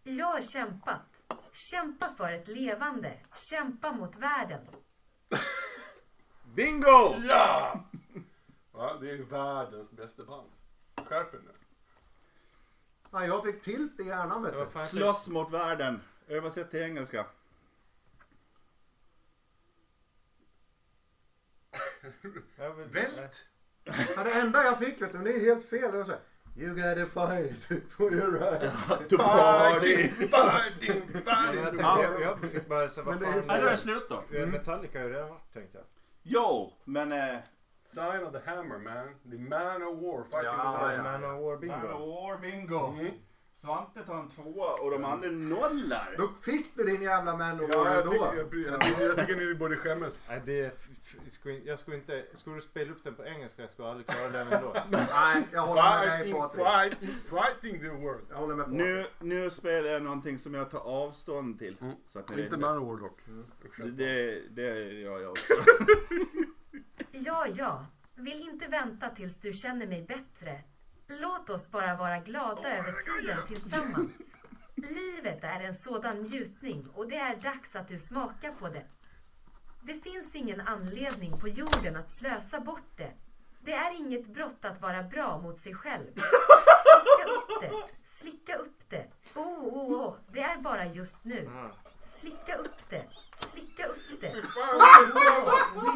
F: Jag har kämpat. Kämpa för ett levande. Kämpa mot världen.
C: Bingo!
G: Ja! Va? Det är världens bästa band. Skärp er nu.
A: Fan, jag fick tilt i hjärnan vet du.
C: Slåss mot världen. Översätt till engelska.
B: Vält!
A: Ja, det enda jag fick vet du, men det är helt fel. Det var så här, you gotta fight for your right.
C: To party!
G: Fighting,
D: Men jag,
G: fighting.
D: tänkte, jag, jag fick bara så vad
A: Men det är-
D: fan.
C: Ja, då är det slut då.
D: eh, Metallica har ju redan varit tänkte jag.
C: Jo, men... Eh,
B: Sign of the hammer man. The man of war. Fighting
A: Ja,
B: the war.
A: ja.
D: Man of War
C: Man of
D: Bingo.
C: War bingo.
B: Mm.
C: Svante tar en tvåa och de andra nollar.
A: Då fick du din jävla man och
B: Ja,
A: ja,
B: jag,
A: då.
B: tycker, jag, jag, tycker- jag tycker ni borde skämmas.
D: Nej, det är, f- f- skulle- jag skulle inte, skulle du spela upp den på engelska jag skulle aldrig klara den ändå.
A: Nej, jag håller med dig
B: Fighting,
A: Patrik.
B: fighting, fighting the world.
A: Jag håller med Patrik.
C: Nu, nu spelar jag någonting som jag tar avstånd till.
B: Mm.
C: Så att ni vet
B: Inte
C: det.
B: man of war dock.
C: Det, det gör jag också.
F: Ja, ja. Vill inte vänta tills du känner mig bättre. Låt oss bara vara glada över tiden tillsammans. Livet är en sådan njutning och det är dags att du smakar på det. Det finns ingen anledning på jorden att slösa bort det. Det är inget brott att vara bra mot sig själv. Slicka upp det, slicka upp det. Åh, åh, åh, det är bara just nu. Slicka upp det, slicka upp det.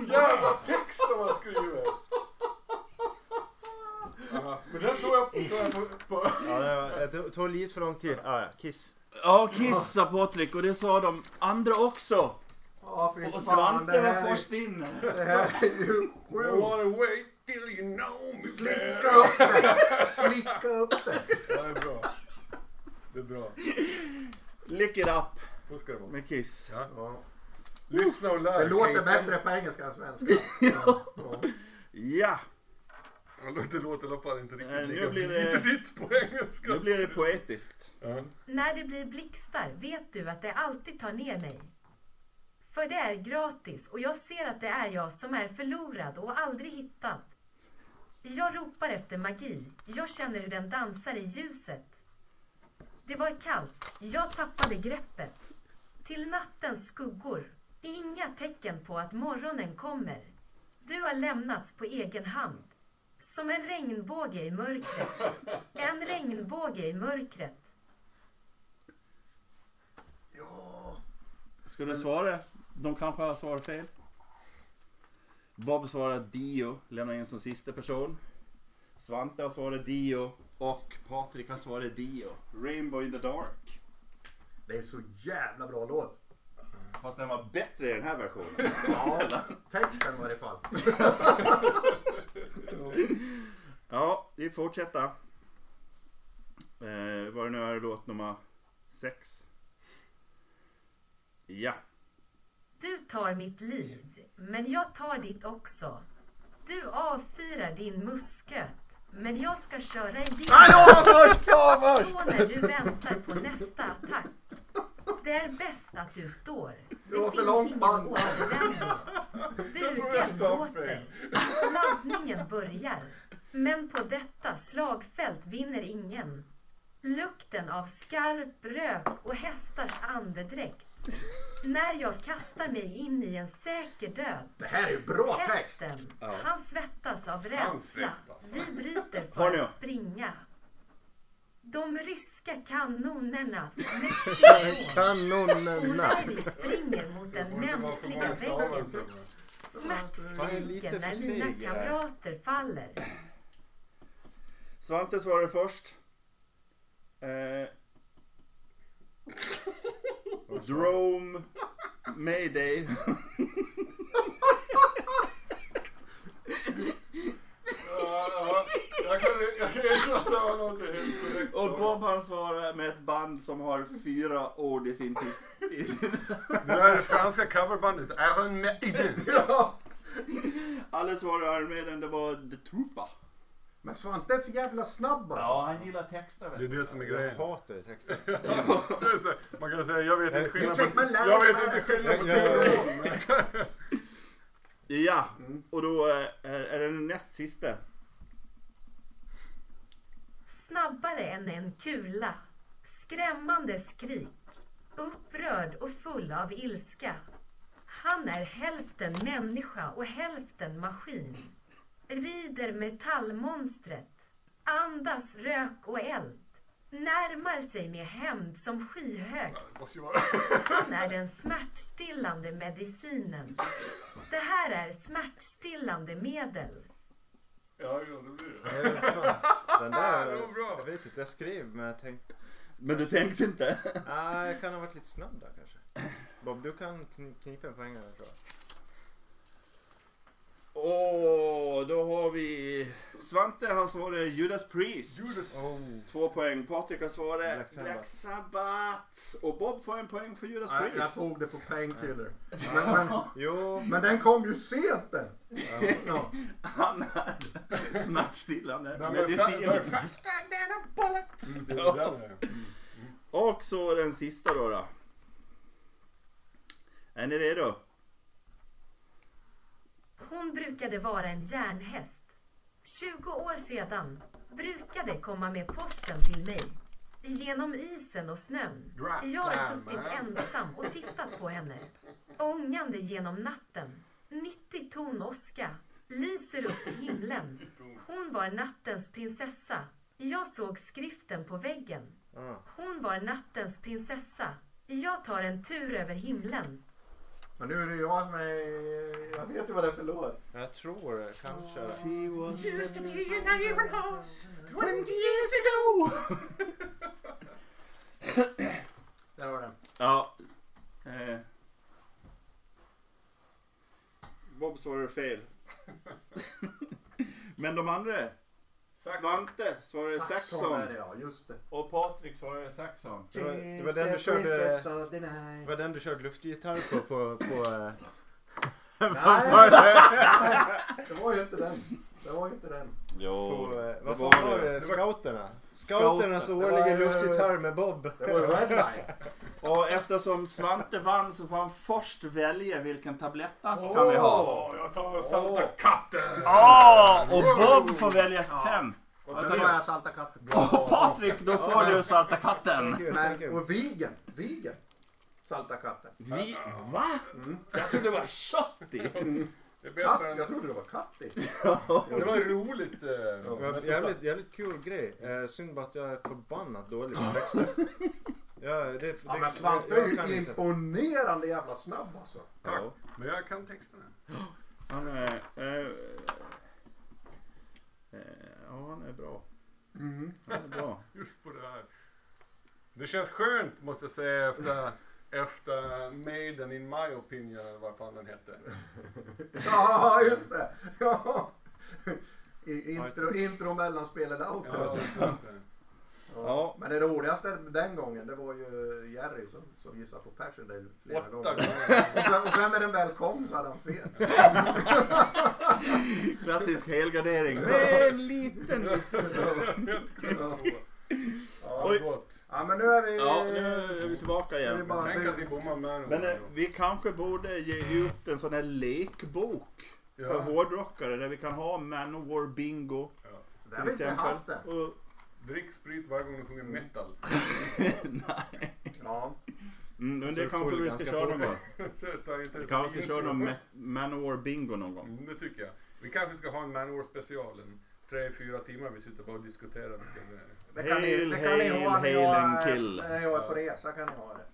G: Jävla text de har skrivit. Ja, Men den tror jag på. Tror jag på, på.
D: Ja, det, var, det tog lite för lång tid. Ah, ja, Kiss.
C: Ja, kissa Patrik och det sa de andra också.
A: Ja, fy
C: Och
A: fan,
C: Svante
A: det
C: var
A: här är-
C: först in.
A: Det här är ju
B: I
A: sjukt.
B: wanna wait till you know me better.
A: Slicka upp det. Slicka upp det.
B: Ja, det är bra. Det är bra.
C: Lick it up
B: Så ska det vara.
C: med Kiss.
B: Ja. Lyssna och lär.
A: Det låter
B: Kate.
A: bättre på engelska än svenska. Ja. Ja.
C: Ja,
B: Ja, det låter i alla fall inte
C: Nej,
B: riktigt
C: nu
B: lika
C: blir det-
B: vidrigt på engelska.
C: nu blir det poetiskt.
B: Ja.
F: När det blir blixtar vet du att det alltid tar ner mig. För det är gratis och jag ser att det är jag som är förlorad och aldrig hittad. Jag ropar efter magi. Jag känner hur den dansar i ljuset. Det var kallt. Jag tappade greppet. Till nattens skuggor. Inga tecken på att morgonen kommer. Du har lämnats på egen hand. Som en regnbåge i mörkret. En regnbåge i mörkret.
C: Ska du svara? De kanske har svarat fel. Bob svarar Dio, lämnar in som sista person. Svante har svarat Dio och Patrik har svarat Dio. Rainbow in the dark.
A: Det är så jävla bra låt.
C: Fast den var bättre i den här versionen.
A: Ja, texten i varje fall.
C: Ja, vi fortsätter. Eh, vad det nu är låt nummer sex. Ja.
F: Du tar mitt liv, men jag tar ditt också. Du avfyrar din musköt, men jag ska köra i din.
C: först! Jag var
F: Så när du väntar på nästa attack. Det är bäst att du står. Det
A: var för
F: finns
A: långt
F: ingen
A: band.
F: återvändo. Bugen låter. Laddningen börjar. Men på detta slagfält vinner ingen. Lukten av skarp rök och hästars andedräkt. När jag kastar mig in i en säker död.
A: Det här är ju bra text.
F: Hästen, han svettas av rädsla.
B: svettas.
F: Vi bryter
C: Hör
F: för
C: ni?
F: att springa. De ryska kanonerna smäcker ifrån. Och
D: Kanonerna.
F: när vi springer mot den mänskliga väggen
D: Fan, jag är lite
F: smärtskriken
D: för
F: när
D: seg
F: mina
D: här.
F: kamrater faller.
C: Svante svarar först. Eh, Drome Mayday. Robban svarar med ett band som har fyra ord i sin titel. I sin...
B: Nu är det franska coverbandet Iron Maiden.
C: Alla svarar med den, det var The Troopa.
A: Men Svante är för jävla snabb alltså.
C: han gillar texter
B: Det är det som är
D: Jag
B: grejen.
D: hatar ju texten.
B: Det är så här, Man kan säga jag vet inte skillnad
A: check
B: på...
A: my life,
B: Jag vet
A: man.
B: inte skillnad på
D: Jag- jag-
B: teknologi.
C: Ja, och då eh, är, är det den näst sista.
F: Snabbare än en kula. Skrämmande skrik. Upprörd och full av ilska. Han är hälften människa och hälften maskin. Rider metallmonstret. Andas rök och eld. Närmar sig med hämnd som skyhög.
G: Måste ju vara...
F: Han är den smärtstillande medicinen. Det här är smärtstillande medel.
G: Ja, ja, det blir det.
D: Nej, fan. Den där,
G: Det var bra.
D: jag vet inte, jag skrev men jag tänkte,
C: Men du tänkte inte?
D: ah, jag kan ha varit lite snabb där kanske. Bob, du kan kn- knipa en poäng här tror jag.
C: Åh, då har vi Svante har svarat Judas Priest.
A: Oh.
C: Två poäng. Patrik har svarat
D: Black
C: Black
D: Sabbath.
C: Sabbath. Och Bob får en poäng för Judas
A: Nej, jag
C: Priest.
A: tog det på painkiller. Men, men,
D: Jo,
A: men den kom ju sent den. Ja.
C: Han är smärtstillande
B: Den var fa- den var
C: medicin.
B: faster than a bullet. Mm, Det är den här.
C: Och så den sista då. då. Är ni redo?
F: Hon brukade vara en järnhäst. 20 år sedan brukade komma med posten till mig. Genom isen och snön. Jag har suttit ensam och tittat på henne. Ångande genom natten. 90 ton åska. Lyser upp i himlen. Hon var nattens prinsessa. Jag såg skriften på väggen.
D: ah,
F: Hon var nattens prinsessa. Jag tar en tur över himlen.
A: Men nu är det jag som är... Jag vet ju vad det är för låt.
D: jag tror det,
A: Oh,
D: kanske.
A: Där har den.
C: Ja. Eh. Bob svarade fel. Men de andra? Svante svarade Saxon.
A: är det ja, just det.
C: Och Patrik svarade Saxon.
D: Det var, det var den du körde, det var den du körde luftgitarr på, på, på eh,
A: Nej, det var ju inte den. Det var ju inte den.
C: Jo,
D: På, eh,
C: det
D: vad
C: var
D: fan var
C: det.
D: det? Scouterna? Scouternas
A: Det var-
D: årliga luftgitarr med Bob.
A: Det var ju Redline.
C: Och eftersom Svante vann så får han först välja vilken tablettask han vill Alltså, ha.
B: Åh, jag tar salta katten.
C: Åh, och Bob får välja sen.
A: Och då har jag Salta katten.
C: Och Patrik, då får du Salta katten.
D: Gud, thank
A: Men,
D: you.
A: och Vigen. Vigen. Salta katten.
C: Vi, va? Jag trodde det var Shotty.
B: Det är
A: Katt?
B: bättre än-
A: Jag trodde det var Kattis.
B: Det var roligt. eh,
D: Det
B: men
D: var
B: som
D: jävligt, jävligt kul grej. Eh, synd bara att jag är förbannat dålig på texter. ja, det, det,
A: Ja men Svante är
D: jag
A: ju
D: kan inte.
A: imponerande jävla snabb alltså.
D: Ja.
B: sagt. Men jag kan texterna.
C: Han är... Eh, eh, ja, han är bra. Han är bra.
B: Just på det här. Det känns skönt måste jag säga efter, efter Maiden in my opinion eller vad fan den hette.
A: Ja just det. Ja. I intro, intro mellanspel eller outro.
B: Ja, så att, eh,
C: Ja.
A: Men det roligaste den gången det var ju Jerry som, som gissade på Persondale flera
B: Åtta
A: gånger.
B: gånger.
A: Och sen, och sen när den väl kom så hade han fel.
C: Klassisk helgardering. Med en liten riss.
B: Helt klart. Ja,
C: Oj.
B: gott.
A: Ja men nu är vi...
C: Ja, nu är vi tillbaka igen.
A: bara-
B: Tänk att ni bommar med
C: Men eh,
B: den.
C: vi kanske borde ge ut en sån här lekbok för
B: Ja.
C: hårdrockare där vi kan ha Manowar Bingo
A: det har
C: till
A: vi inte
C: exempel.
A: haft det.
C: Och,
B: Drick sprit varje gång du sjunger metal.
A: Ja.
C: mm, men
D: Så
C: det
D: är
C: kanske
D: full
C: vi ska
D: ganska
C: köra någon
D: fort.
C: gång.
B: Ta inte
C: Vi
B: ens
C: kanske ska
B: intro.
C: köra någon Ma- Manowar Bingo någon gång.
B: Mm, Det tycker jag. Vi kanske ska ha en Manowar special. En tre, fyra timmar vi sitter bara och diskuterar vilken det är.
A: Det kan ni,
C: Hail,
A: det kan ni ha när
C: hail,
A: jag,
C: hail and kill.
A: när jag är på resa kan ni ha det.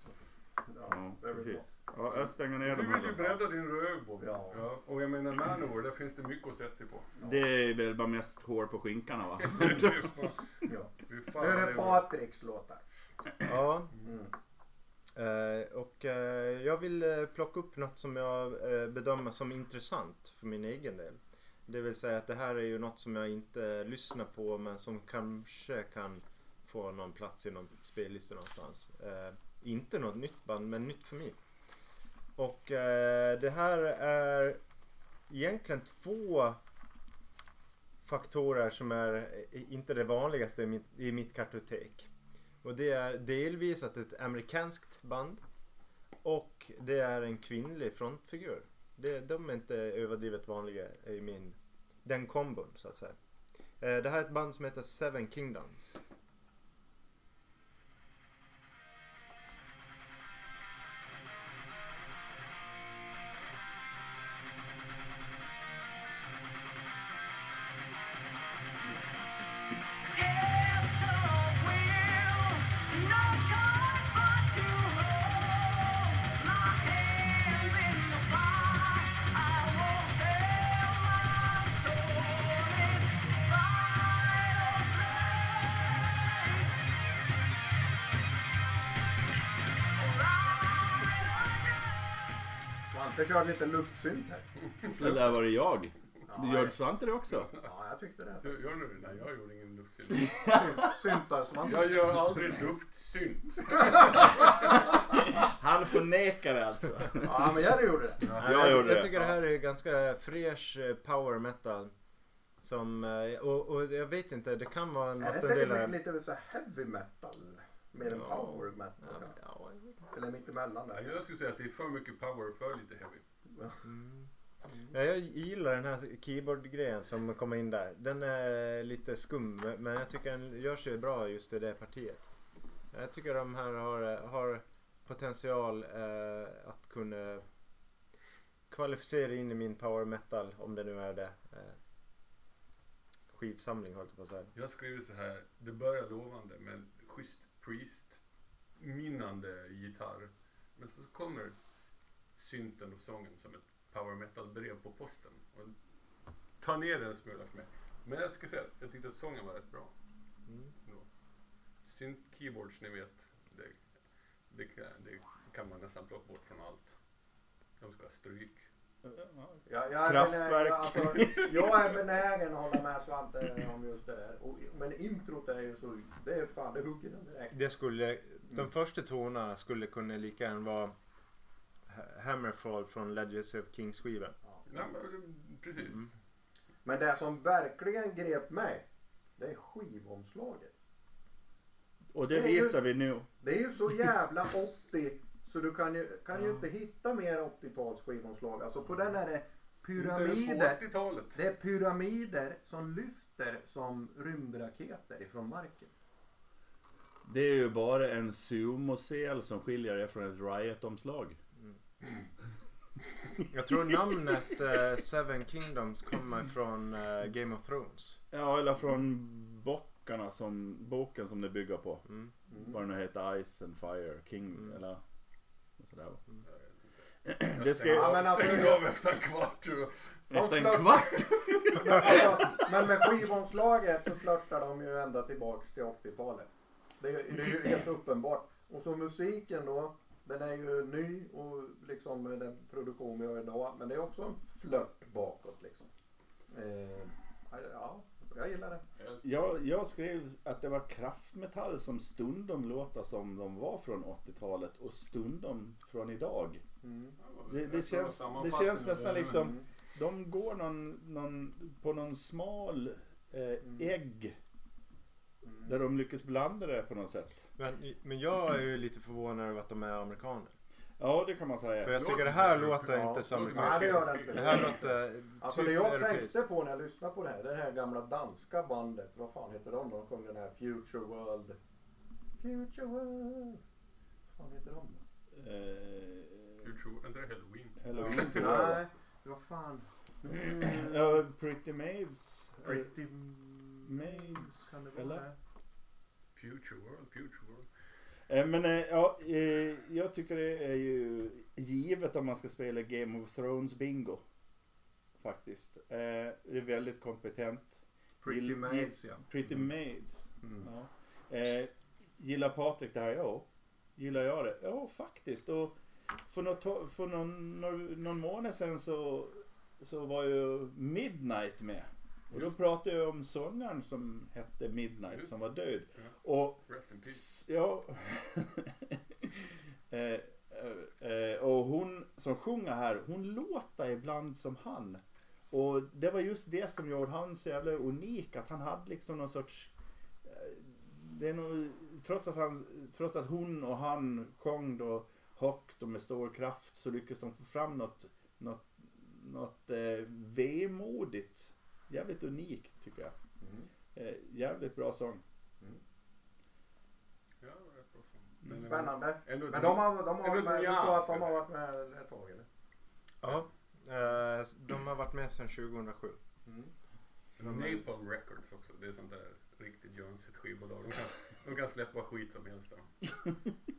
C: Ja,
A: det är väl
C: precis. Ja, jag stänger ner
B: Du
C: dem
B: vill ju
C: här då.
B: bredda din röv Bob.
A: Ja.
B: Och jag menar Manowar, där finns det mycket att sätta sig på.
C: Det är väl bara mest hår på skinkarna va?
A: bra. Ja.
B: Fy
A: Nu är
B: fan,
A: det Patriks låtar.
D: Ja. Mm. Eh, och eh, jag vill eh, plocka upp något som jag eh, bedömer som intressant för min egen del. Det vill säga att det här är ju något som jag inte lyssnar på men som kanske kan på någon plats i någon spellista någonstans. Eh, inte något nytt band, men nytt för mig. Och eh, det här är egentligen två faktorer som är eh, inte det vanligaste i mitt, i mitt kartotek. Och det är delvis att det är ett amerikanskt band och det är en kvinnlig frontfigur. Det, de är inte överdrivet vanliga i min, den kombon så att säga. Eh, Det här är ett band som heter Seven Kingdoms.
H: Test of will, no choice but to hold my hands in the fire. I won't sell my soul. It's violence.
A: Svante körde lite luftsynt här.
C: Eller var det jag?
A: Ja,
C: Gör Svante det också?
A: Ja, jag tyckte det.
B: Gör gör du det? Nej, jag gjorde ingen luftsynt.
A: Syntar Svante.
B: Jag gör aldrig luftsynt.
C: Han förnekar det alltså.
A: Ja, men Jerry gjorde det.
D: Nej,
C: jag gjorde
D: jag
C: det.
D: tycker det här är ganska fräsch eh, power metal. Som, eh, och, och jag vet inte, det kan vara en
A: Är det inte lite,
D: vattendelare.
A: lite så här heavy metal? Mer än
D: Ja.
A: power
D: Ja,
A: metal kanske?
D: ja,
A: Eller mittemellan
B: Nej,
A: där.
B: Jag skulle säga att det är för mycket power för lite heavy.
D: Ja, jag gillar den här keyboard-grejen som kommer in där. Den är lite skum men jag tycker den gör sig bra just i det partiet. Jag tycker de här har, har potential eh, att kunna kvalificera in i min power metal om det nu är det. Eh, skivsamling höll jag på att säga.
B: Jag skriver så här. Det börjar lovande med schysst priest-minnande gitarr. Men så kommer synten och sången som ett power metal-brev på posten. Och tar ner den en smula för mig. Men jag ska säga att jag tyckte att sången var rätt bra.
D: Mm.
B: ändå. Synt-keyboards, ni vet. Det, det, kan- det kan man nästan plocka bort från allt. De ska ha stryk.
A: Jag, jag är
C: Kraftwerk.
A: benägen- alltså, jag är benägen att hålla med Svante om just det här. Och, men introt är ju så... Det är fan, det hugger den direkt.
D: Det skulle, de första tonerna skulle kunna lika gärna vara Ha- Hammerfall från Legends of Kings skivan.
B: Nej, men, precis.
C: Mm.
A: Men det som verkligen grep mig, det är skivomslaget.
C: Och det visar vi nu.
A: Det är ju så jävla 80 så du kan ju, kan ju inte hitta mer 80-tals skivomslag. Alltså på den är det
B: Inte
A: pyramider.
B: ens på 80-talet.
A: Det är pyramider som lyfter som rymdraketer ifrån marken.
C: Det är ju bara en sumosel som skiljer det från ett Riot-omslag.
D: Jag tror namnet eh, Seven Kingdoms kommer från eh, Game of Thrones.
C: Ja, eller från bockarna som, boken som det bygger på.
D: Mm.
C: Vad den nu heter, Ice and Fire King
D: Mm.
C: eller sådär. va.
B: Jag
C: Det ska ju-
B: stängde
A: Ja,
B: av-
A: men alltså-
B: stängde av efter en kvart. tror jag.
C: Efter en kvart!
A: Men, alltså, men med skivomslaget så flörtar de ju ända tillbaks till 80-talet. Det, är- det är ju helt uppenbart. Och så musiken då. Den är ju ny och liksom med den produktion vi har idag. Men det är också en flört bakåt liksom. Eh, ja, jag gillar det.
C: Jag, jag skrev att det var kraftmetall som stundom låter som de var från 80-talet och stundom från idag.
A: Mm.
C: Det, det, känns, det känns nästan liksom, de går någon, någon, på någon smal eh, ägg
A: Mm.
C: där de lyckas blanda det på något sätt.
D: Men, men jag är ju lite förvånad över att de är amerikaner.
C: Ja, det kan man
D: För
C: säga.
D: jag tycker det här
B: Låter-
D: låter
A: ja,
D: inte som
B: låter-
A: Nej,
D: amerikaner.
A: det gör det inte.
D: Det här låter eh,
A: Alltså
D: typ
A: det jag
D: europeiskt.
A: tänkte på när jag lyssnade på det här, det här gamla danska bandet, vad fan heter de? De sjöng den här Future World. Future World. Vad fan heter de? då?
C: Eh,
B: Hur tror- Vänta, det är halloween.
C: Halloween tror jag.
A: Nej, vad fan.
C: Ja, Pretty Maids.
A: Pretty Eh,
C: Maids,
A: Kan det vara
C: eller?
A: det?
B: Future world, future world.
C: Eh, Men eh, ja, eh, jag tycker det är ju givet om man ska spela Game of Thrones bingo. Faktiskt. Eh, Det är väldigt kompetent.
A: Pretty
C: Gill-
A: Maids ja.
C: Pretty Maids. Ja. Eh, gillar Patrik det här? Ja. Gillar jag det? Ja, faktiskt. Och för något, to- för någon, någon, någon månad sedan så, så var ju Midnight med. Och då pratade jag om sångaren som hette
B: Mm.
C: Midnight som var död.
B: Ja.
C: Och
B: Rest in peace.
C: S- Ja. eh, eh, eh, och hon som sjunger här, hon låter ibland som han. Och det var just det som gjorde han så jävla unik, att han hade liksom någon sorts... eh, Det är nog, trots, att han, trots att hon och han sjöng då högt och med stor kraft så lyckades de få fram något, något, något eh, vemodigt. Jävligt unikt tycker jag.
G: Mm.
C: Eh, jävligt bra sång.
B: Ja, det är bra sång. Men- eh,
A: Mm. Spännande.
B: Ändå-
A: Men de har, de
B: Det är
A: har,
B: väl
A: med, du sa
B: nyans,
A: att de har
B: eller?
A: varit med ett tag eller?
D: Ja. Eh, de har varit med sedan 2007.
A: Mm.
B: Så Napalm Records också, det är sånt där riktigt jönsigt skivbolag. De kan, de kan släppa skit som helst. Då.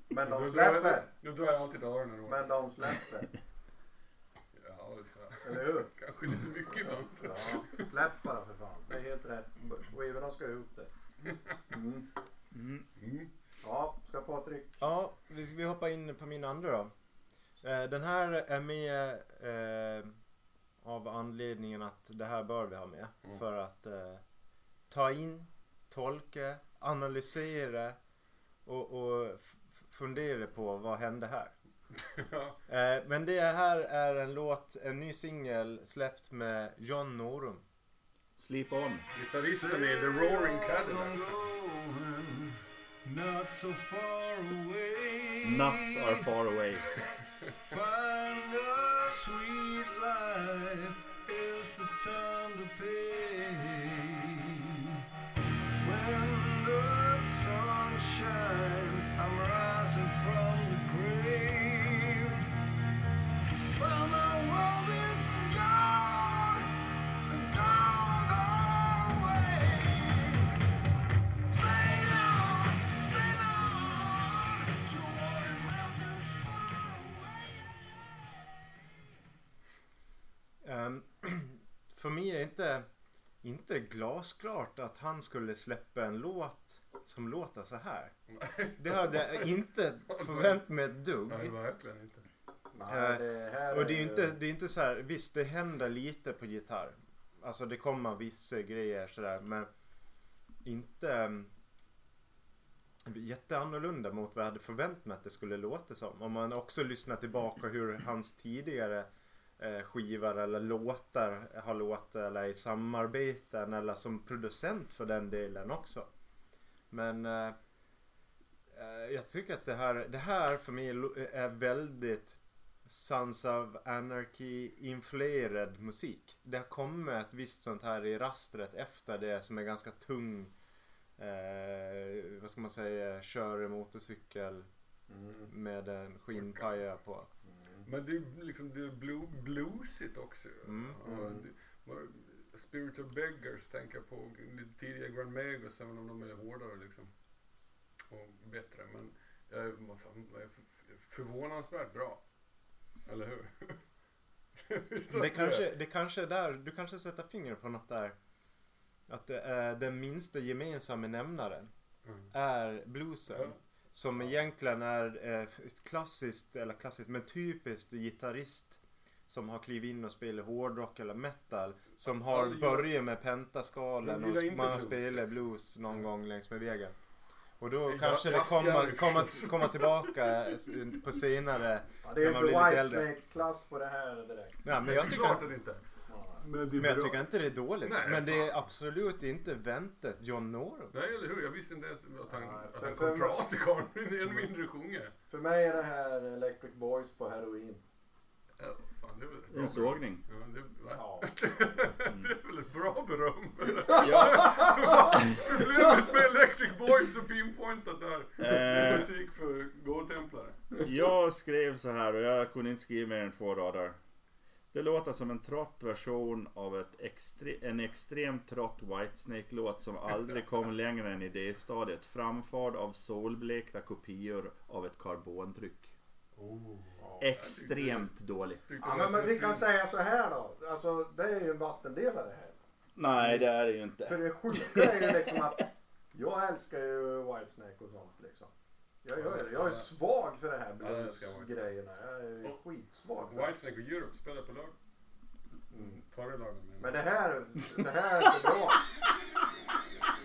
A: Men
B: Då
A: de
B: drar jag-
A: släpper.
B: Då drar jag alltid öronen åt.
A: Men de släpper.
B: Ja, ja,
A: Eller hur?
B: kanske lite mycket ibland.
A: Ja, släpp bara för fan. Det är helt rätt. Skivorna ska ut det.
G: Mm.
C: Mm.
B: Mm.
A: Ja, ska Patrik.
D: Ja, vi, vi hoppar in på min andra då. Eh, den här är med eh, av anledningen att det här bör vi ha med.
B: Mm.
D: För att eh, ta in, tolka, analysera och, och f- fundera på vad hände här.
B: Ja.
D: Eh, men det här är en låt, en ny singel släppt med John Norum.
C: Sleep on.
B: Gitarristen i The Roaring Cadillac.
H: Not so far away.
C: Nuts are far away.
H: Find a sweet life. It's a time to pay. When the sun shines, I'm rising from the grave. Well, my world is gone. and gone away. Sail on, sail on toward mountains far away.
D: Ehm, för mig är inte, inte glasklart att han skulle släppa en låt som låter så här. Det hade jag inte förväntat mig ett dugg.
B: Nej, verkligen inte.
A: Nej, det här
D: Och det är ju
A: ju-
D: inte, det är inte så här, visst det händer lite på gitarr. Alltså det kommer vissa grejer sådär men inte um, jätteannorlunda mot vad jag hade förväntat mig att det skulle låta som. Om man också lyssnar tillbaka hur hans tidigare eh, skivor eller låtar har låtit eller i samarbeten eller som producent för den delen också. Men eh, eh, jag tycker att det här, det här för mig lo- är väldigt Sons of Anarchy influerad musik. Det har kommit ett visst sånt här i rastret efter det som är ganska tung eh, vad ska man säga, kör motorcykel
G: Mm.
D: med en skinnpaja på.
B: Men det är liksom det är blue, bluesigt också.
D: Mm.
B: Ja, det, vad- Spiritual Beggars tänker jag på lite tidigare Grand Magos även om de är hårdare liksom. Och bättre. Men eh, vad fan, vad är f- förvånansvärt bra. Eller hur? Visst är
D: Det kanske, det kanske är där, du kanske sätter fingret på något där. Att det är den minsta gemensamma nämnaren
B: Mm.
D: är bluesen.
B: Ja.
D: Som egentligen är eh, ett klassiskt, eller klassiskt, men typiskt gitarrist som har klivit in och spelat hårdrock eller metal. Som har
B: Aldrig-
D: börjat med
B: Men
D: pentaskalen
B: gillar
D: och
B: inte
D: man har
B: blues,
D: spelat
B: liksom.
D: blues någon gång längs med vägen. Och då
B: Ja,
D: kanske det
B: jazz-
D: kommer,
B: jazz.
D: kommer, kommer tillbaka s- på senare.
A: Ja, det är
D: när
A: inte
D: man blir lite äldre.
A: Whitesnake-klass på det här direkt.
D: Ja, men jag tycker
B: Klart att det inte är.
G: Men det är
D: Men jag
G: bra.
D: tycker inte det är dåligt.
B: Nej,
D: men det är absolut inte väntat John Norum.
B: Nej, eller hur? Jag visste inte ens att han,
A: Nej,
B: att
A: för-
B: han kom
A: för-
B: prata karln. Än mindre sjunga.
A: För mig är det här Electric Boys på heroin.
B: Ja, fan, det är väl ett bra
C: En sågning.
B: beröm. Ja, det, va?
A: Ja.
B: det är väl ett bra beröm?
C: Ja.
B: Problemet med Electric Boys och pinpointat där. Det är
C: Eh,
B: musik för gåtemplare.
C: jag skrev så här och jag kunde inte skriva mer än två rader. Det låter som en trött version av ett extre- en extremt trött Whitesnake-låt som aldrig kom längre än idéstadiet. Framförd av solblekta kopior av ett karbontryck. Extremt dåligt.
B: Tyckte
A: Ja,
B: det
A: men,
B: lät
A: men vi
B: lite
A: kan
B: fint.
A: säga så här då. Alltså det är ju en vattendelare här.
C: Nej, det är det ju
A: För
C: inte.
A: det sjuka är ju liksom att jag älskar ju Whitesnake och sånt liksom. Jag gör det. Jag är svag för det här
B: Ja, jag älskar Whitesnake.
A: bluesgrejerna. Jag är
B: Och-
A: skitsvag för det.
B: Whitesnake och Europe spelar på lördag. Förra lördagen menar
A: Mm. Men
B: jag.
A: det här, det här är för bra.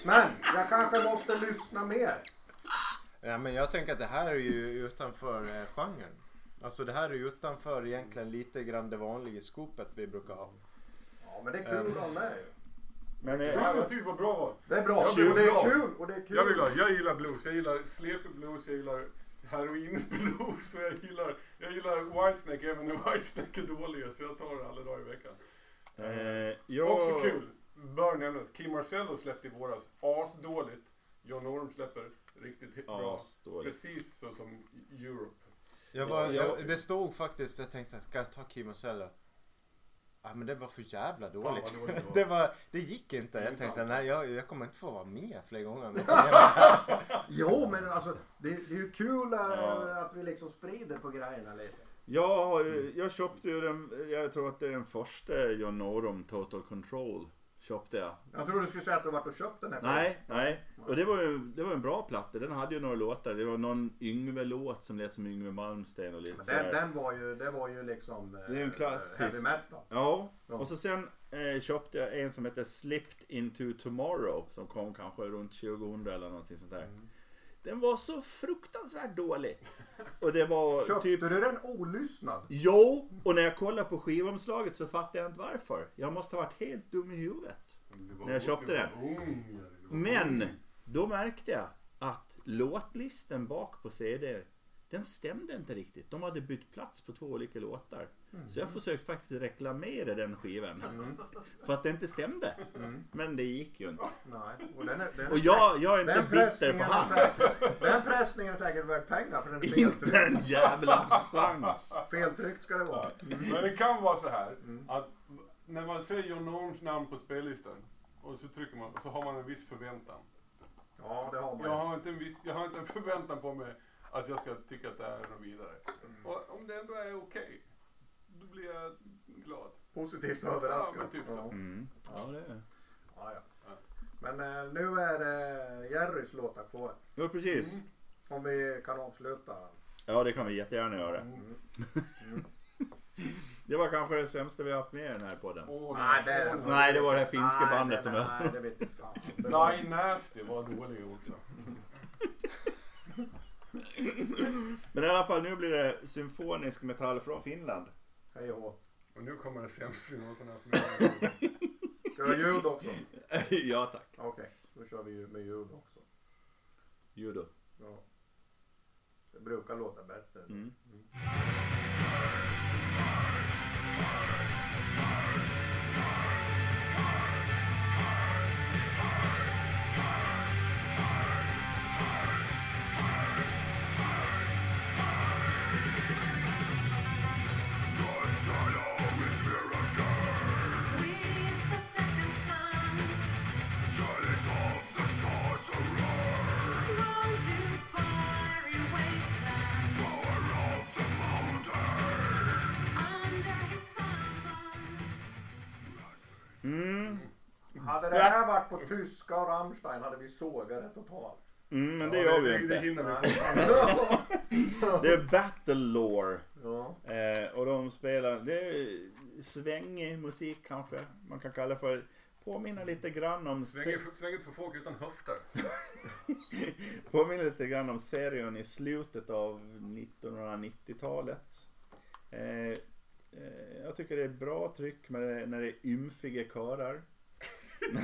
A: Men jag kanske måste lyssna mer.
D: Ja, men jag tänker att det här är ju utanför eh, genren. Alltså det här är ju utanför egentligen lite grann det vanliga skopet vi brukar ha.
A: Ja men det är kul alla är ju.
C: Men eh,
G: Ja, jag tyckte det var bra.
A: Det är typ bra. Och
G: Jag blir
A: det är
G: glad.
A: kul. Och det är kul.
B: Jag blir glad. Jag gillar blues. Jag gillar sleepy-blues. Jag gillar heroin-blues. och Jag gillar, jag gillar Whitesnake även när Whitesnake är dåliga. Så jag tar det alla dagar i veckan.
C: eh, jag...
B: Också kul. Bör nämnas. Kim Marcello släppte i våras asdåligt. John Orm släpper riktigt bra.
C: Asdåligt.
B: Precis så som Europe.
D: Jag var,
C: Ja,
D: jag,
C: jag-
D: det stod faktiskt, jag tänkte såhär, ska jag ta Kim och Sella? Ja men det var för jävla
B: vad
D: dåligt.
B: dåligt det var.
D: det, var, det gick inte.
B: Det är
D: Jag tänkte såhär,
B: sant.
D: nej jag, jag kommer inte få vara med fler gånger. Men,
A: Jo men alltså det, det är ju kul eh,
C: Ja.
A: att vi liksom sprider på grejerna lite.
C: Jag, har,
A: Mm.
C: jag köpte ju den, jag tror att det är den första John Norum Total Control. Köpte jag.
A: Jag tror du skulle säga att du har varit och köpt den här.
C: Nej, nej. Och det var ju det var en bra platta. Den hade ju några låtar. Det var någon Yngve-låt som lät som Yngve Malmsteen och lite
A: Men Den,
C: sådär.
A: den var ju, det var ju liksom eh,
C: Det är ju en klassisk.
A: heavy metal.
C: Ja, och så sen eh, köpte jag en som heter Slipped Into Tomorrow. Som kom kanske runt 2000 eller någonting sånt där.
A: Mm.
C: Den var så fruktansvärt dålig. Och det var
A: Köpte
C: typ...
A: du den olyssnad?
C: Jo, och när jag kollar på skivomslaget så fattar jag inte varför. Jag måste ha varit helt dum i huvudet.
B: Det var-
C: När jag köpte
B: det
C: den. Mm.
B: var ung, ja, det var
C: Men
B: ung.
C: då märkte jag att låtlisten bak på CD den stämde inte riktigt. De hade bytt plats på två olika låtar. Så jag försökte faktiskt reklamera den skivan. För att det inte stämde. Men det gick ju inte.
A: Nej. Och, den är, den är
C: Och jag, jag är inte
A: den
C: bitter
A: pressningen,
C: på
A: är
C: han.
A: säkert, den pressningen är säkert värd pengar för den är
C: Inte
A: feltryckt.
C: en jävla chans.
A: Feltryckt ska det vara.
B: Men det kan vara så här
C: Mm.
B: att när man ser John Orms namn på spellistan och så trycker man så har man en viss förväntan.
A: Ja det har man
B: Jag
A: ju.
B: har inte en, viss, jag har inte en förväntan på mig att jag ska tycka att det här är något vidare.
C: Mm.
B: Och om det ändå är okej, då blir jag glad.
A: Positivt överraskad.
B: Ja, men typ så.
C: Mm. Ja, det är...
A: Ja, ja. Men eh, nu är det Jerrys låtar kvar.
C: Jo, precis.
A: Om vi kan avsluta.
C: Ja, det kan vi jättegärna göra. Mm. Det var kanske det sämsta vi har haft med i den här podden.
B: Åh,
A: Nej, det är-
C: Nej, det var det här finska
A: Nej,
C: bandet som
A: nej,
C: jag...
A: Nej, det vet inte fan. Det var-
B: Die Nasty var dåliga också.
C: Men i alla fall, nu blir det symfonisk metall från Finland.
A: Hej och hå.
B: Och nu kommer det sämst vi någonsin haft med.
A: Ska vi ha ljud också?
C: ja tack.
A: Okej, då kör vi ju med ljud också.
C: Judo.
A: Ja. Det brukar låta bättre.
C: Mm. Mm.
A: Hade det här varit på tyska och Rammstein hade vi sågat det totalt.
C: Mm, men det gör vi ju
B: Det
C: inte.
B: hinner vi få.
C: Det är Battle Lore.
A: ja.
C: Eh, och de spelar, det är svängig musik kanske. Man kan kalla för, påminner lite grann om,
B: Svänger- Svänger för folk utan höfter.
C: påminner lite grann om Therion i slutet av 1990-talet. Eh, eh, jag tycker det är bra tryck med det, när det är ymfiga körar. Men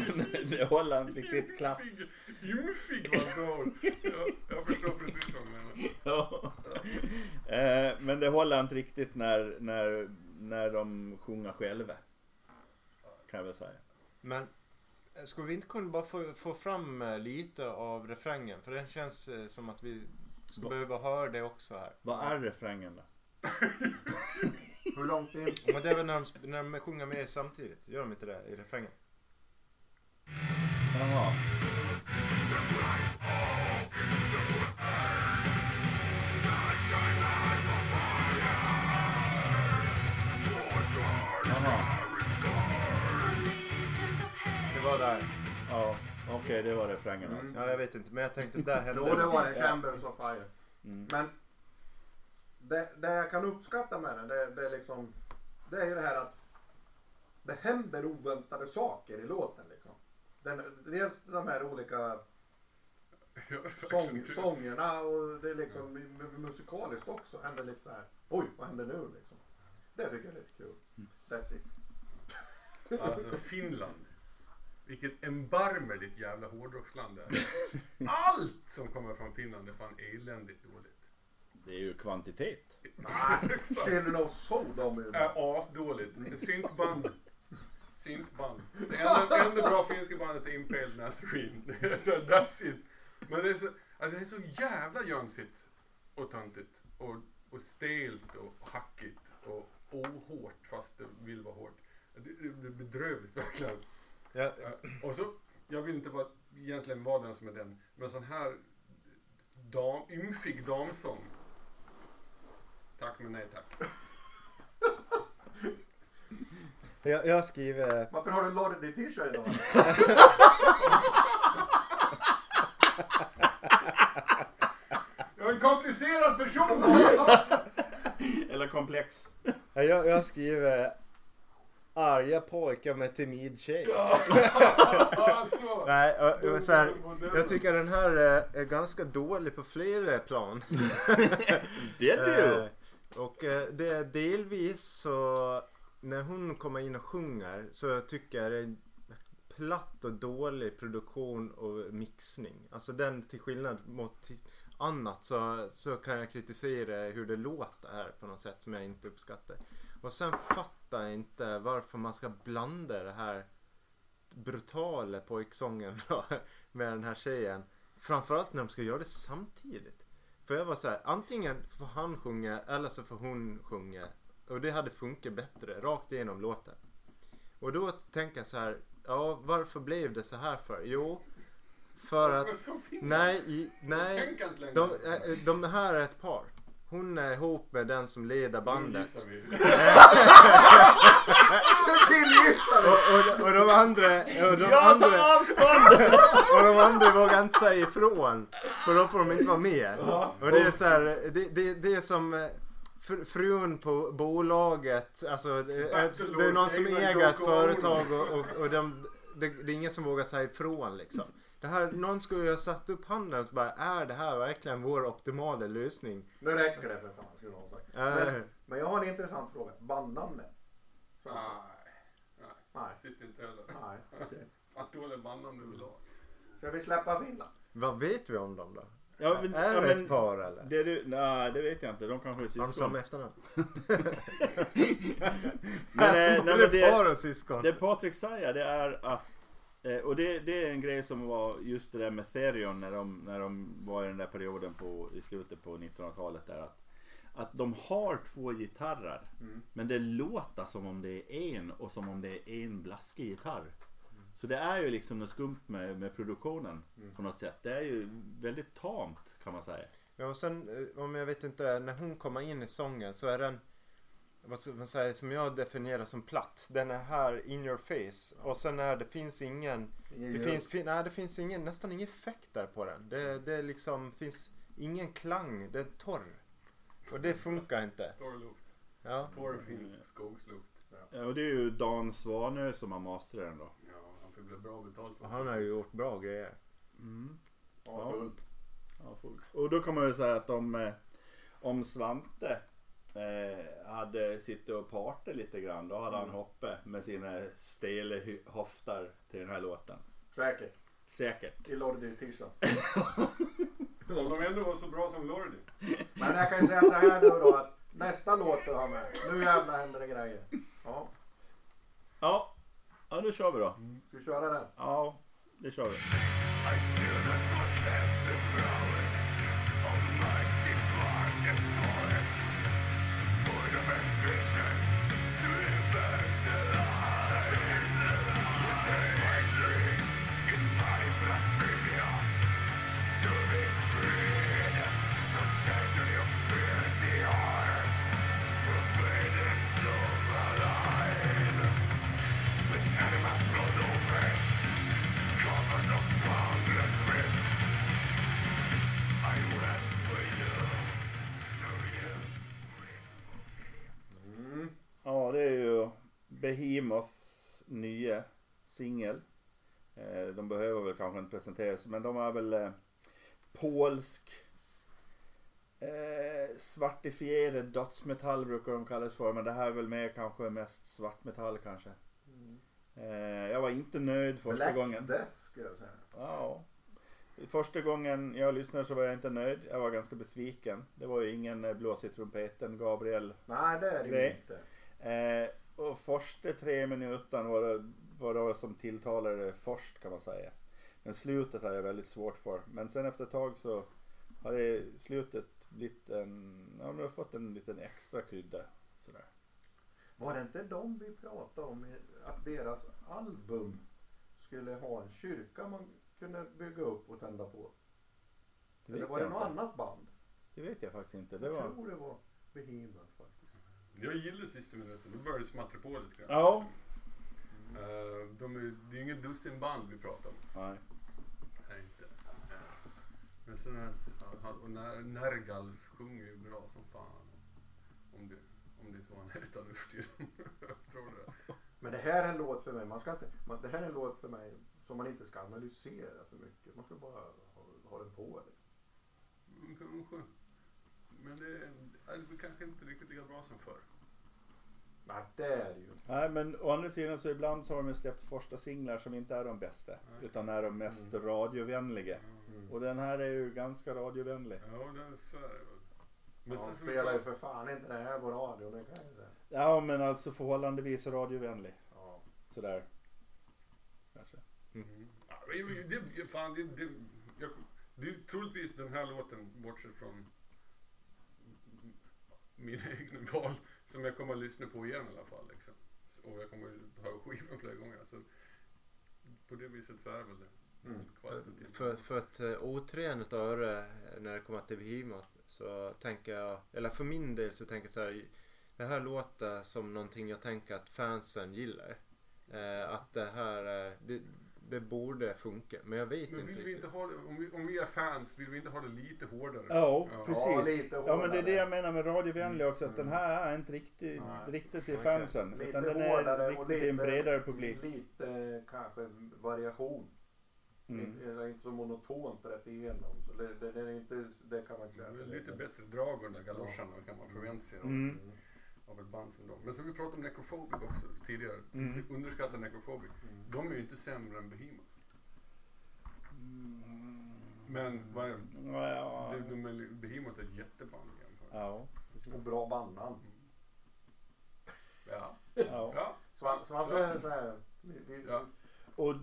C: det håller inte riktigt klass.
B: Ljumfig var ett bra ord. Jag- Jag förstår precis vad du menar.
C: Ja. Eh, Men det håller inte riktigt när, när, när de sjunger själva. Kan jag väl säga.
D: men eh, skulle vi inte kunna bara få, få fram eh, lite av refrängen? För den känns eh, som att vi skulle
C: Va-
D: behöva höra det också här.
C: Vad är refrängen då?
A: Hur långt in?
D: Men det är väl när de, sp- när de sjunger med samtidigt? Gör de inte det i refrängen?
C: Jaha. Jaha.
D: Det var där.
C: Ja, okej det var refrängen alltså.
D: Ja, jag vet inte. Men jag tänkte där hände
A: Jo, det var det. Chambers of Fire.
C: Mm.
A: Men det, det jag kan uppskatta med den, det, det är liksom... Det är ju det här att det händer oväntade saker i låten. Liksom. Den, dels de här olika
B: Jag vet faktiskt
A: sång,
B: inte.
A: sångerna och det är liksom mu- mu- musikaliskt också händer lite så här. Oj, vad händer nu liksom? Det tycker jag är lite kul.
D: Mm.
A: That's it.
B: Alltså Finland. Vilket embarmerligt jävla hårdrocksland det är. Allt som kommer från Finland är fan eländigt dåligt.
C: Det är ju kvantitet.
B: Exakt.
A: Children of Sodom är ju bra.
B: är asdåligt. Syntband. Syntband. Det enda, enda bra finska bandet är Impaled Nas Queen. That's it. Men det är så, ja, det är så jävla jönsigt och töntigt och, och stelt och hackigt och ohårt fast det vill vara hårt. Det, det blir bedrövligt verkligen.
D: Ja,
B: Eh, Och så, jag vill inte vara, egentligen vara den som är den, men sån här dam, ymfig damsång. Tack men nej tack.
D: jag, jag skriver
A: Varför har du Lordi t-shirt idag?
B: Jag är en komplicerad person!
C: Eller komplex.
D: Ja, Jag, jag skriver arga pojkar med timid tjej.
B: alltså.
D: Nej, ö- ö, så här, jag tycker den här eh, är ganska dålig på flera plan.
C: Det är
D: Eh, Och eh, det är delvis så när hon kommer in och sjunger så tycker jag det är en platt och dålig produktion och mixning. Alltså den till skillnad mot ti- annat så, så kan jag kritisera hur det låter här på något sätt som jag inte uppskattar. Och sen fattar jag inte varför man ska blanda det här brutala pojksången då, med den här tjejen. Framförallt när de ska göra det samtidigt. För jag var så här, antingen får han sjunga eller så får hon sjunga. Och det hade funkat bättre rakt igenom låten. Och då tänker jag så här, ja varför blev det så här för? Jo, för att... Nej, i, nej.
B: Tänk inte längre.
D: De, eh, de här är ett par. Hon är ihop med den som leder
B: Nu
D: bandet.
B: gissar vi.
D: Och, och, och de andra... Och de andra,
C: avstånd!
D: Och de andra vågar inte säga ifrån. För då får de inte vara med. Och det är så här, det, det, det är som eh, fr- frun på bolaget. Alltså, det är ett- det är någon som
B: Battlelords,
D: äger
B: Einar
D: ett
B: Jocke och
D: företag och, och, och de, det, det är ingen som vågar säga ifrån liksom. Det här, någon skulle ju ha satt upp handen och så bara, är det här verkligen vår optimala lösning?
A: Nu räcker det för fan skulle någon ha sagt.
D: Äh,
A: Men jag har en intressant fråga. Bandnamnet?
B: Nej,
A: Nej.
B: jag sitter inte heller.
A: Nej. okej.
B: Att dålig bandnamn överlag.
A: Ska vi släppa Finland?
D: vad vet vi om dem då?
C: Ja, men,
D: Är
C: ja,
D: det ett
C: men,
D: par eller?
C: det du, nej, det vet jag inte. De kanske är
D: Har de samma
C: syskon.
D: efternamn?
C: Men, eh, nej, men
D: det är
C: det,
D: par och syskon.
C: det Patrik säger det är att eh, och det, det är en grej som var just det där med Therion när de, när de var i den där perioden på, i slutet på 1900-talet. Där att, att de har två gitarrer men det låter som om det är en och som om det är en blaskig gitarr. Så det är ju liksom något skumt med, med produktionen på något sätt. Det är ju väldigt tamt kan man säga.
D: Ja, och sen eh, om jag vet inte, när hon kommer in i sången så är den vad ska man säga, som jag definierar som platt. Den är här in your face och sen är det finns ingen, det finns, fin, nej, det finns ingen, nästan ingen effekt där på den. Det, det är liksom finns ingen klang, det är torr. Och det funkar inte.
B: Torr luft.
D: Ja.
B: Torr finsk skogsluft. Ja,
C: Ja, Och det är ju Dan Svanö som har masterat den då.
B: han får bli bra betalt för
D: Och han har ju gjort bra grejer.
C: Ja. Ja, fullt. Och då kan man ju säga att om, eh, om Svante eh, hade suttit och partat lite grann då hade han hoppat med sina stela hy- höftar till den här låten.
A: Säkert.
C: Säkert.
A: I Lordi t-shirt.
B: Om de ändå var så bra som Lordi.
A: Men jag kan ju säga så här nu då att nästa låt du har med, nu jävlar händer det grejer. Ja,
C: Ja, ja då kör vi då.
A: ska vi köra den?
C: Ja, det kör vi. Ja, det är ju Behemoth nya singel. Eh, De behöver väl kanske inte presenteras men de är väl eh, polsk eh, svartifierad dödsmetall brukar de kallas för men det här är väl mer kanske mest svartmetall kanske. Eh, Jag var inte nöjd första
A: Black
C: gången.
A: Death skulle jag säga.
C: Ja. Första gången jag lyssnade så var jag inte nöjd. Jag var ganska besviken. Det var ju ingen eh, blås i trumpeten, Gabriel.
A: Nej det är det ju
C: Nej.
A: inte.
C: Eh, och första tre minuterna var det, var det som tilltalade först kan man säga. Men slutet hade jag väldigt svårt för. Men sen efter ett tag så har det slutet blivit en, ja men det har fått en liten extra krydda. Sådär.
A: Var det inte de vi pratade om i- att deras album skulle ha en kyrka man kunde bygga upp och tända på?
C: Det
A: Eller
C: vet,
A: var det
C: jag
A: något
C: inte.
A: annat band?
C: det vet jag faktiskt inte. Det
A: Jag
C: var...
A: tror det var Behemoth faktiskt.
B: Jag gillar sista minuten, då börjar det smattra på lite grann.
C: Ja.
B: Eh, de är, det är ju inget dussin band vi pratar om.
C: Nej.
B: Nej, inte. Eh, Men sen är han- och Ner- Nergal sjunger ju bra som fan. Om det, om det är så han heter nu för tiden. Jag tror det.
A: Men det här är en låt för mig. Man ska inte, man, det här är en låt för mig som man inte ska analysera för mycket. Man ska bara ha, ha den på. liksom. Det.
B: Mm, kanske. Men det är, det blir kanske inte riktigt lika bra som förr.
A: Nej det är det ju. inte.
C: Nej men å andra sidan så ibland så har de ju släppt första singlar som inte är de bästa.
B: Nej.
C: Utan är de mest
A: Mm.
C: radiovänliga. Och den här är ju ganska radiovänlig.
B: Ja, det är så är det väl. Men
A: Ja,
B: sen
A: de
B: så vi
A: spelar ju
B: pratar,
A: för fan inte det här på radion. Det kan jag ju säga.
C: Ja men alltså förhållandevis radiovänlig.
A: Ja.
C: Sådär. Kanske.
B: mm. ja, men det, det, fan, det, det, jag, det är troligtvis den här låten, bortsett från mina egna val, som jag kommer att lyssna på igen i alla fall. Liksom. Och jag kommer att höra skivan flera gånger. Så på det viset så är det väl det.
A: Mm.
B: Kvalitativt.
D: För, för ett eh, otränat öre eh, när det kommer till Behemoth så tänker jag, eller för min del så tänker jag så här. Det här låter som någonting jag tänker att fansen gillar. Eh, att det här, eh, det, det borde funka. Men jag vet
B: Men vill
D: inte riktigt.
B: vi inte ha det, om, vi, om vi är fans, vill vi inte ha det lite hårdare?
C: Ja
B: Ja.
A: Ja,
C: precis.
A: lite
C: Ja men det är
A: hårdare. Mm.
C: det jag menar med radiovänlig också. Att den här är inte riktigt,
A: Nej.
C: riktigt till
D: Okej.
C: fansen.
A: Lite
C: Utan den
A: hårdare
C: är
A: och
C: riktigt till en
A: lite-
C: bredare publik.
A: Lite kanske variation.
C: Mm.
A: Det är inte så monotont rätt igenom. Så det, det, det, är inte, det kan man inte säga.
B: Mm, Lite bättre drag under galoscherna kan man förvänta sig av-
C: Mm.
B: av ett band som dem. Men som vi pratade om Necrophobic också tidigare.
C: Mm.
B: Underskattade Necrophobic. De är ju inte sämre än Behemoth. Men vad är,
C: Ja, Mm. ja.
B: de, de är, Behemoth är ett jätteband jämfört.
C: Ja.
A: Mm. Och bra bandnamn.
B: Ja.
C: ja.
B: ja.
A: Svan- Svante är så här, vi- vi-
B: Ja.
C: Och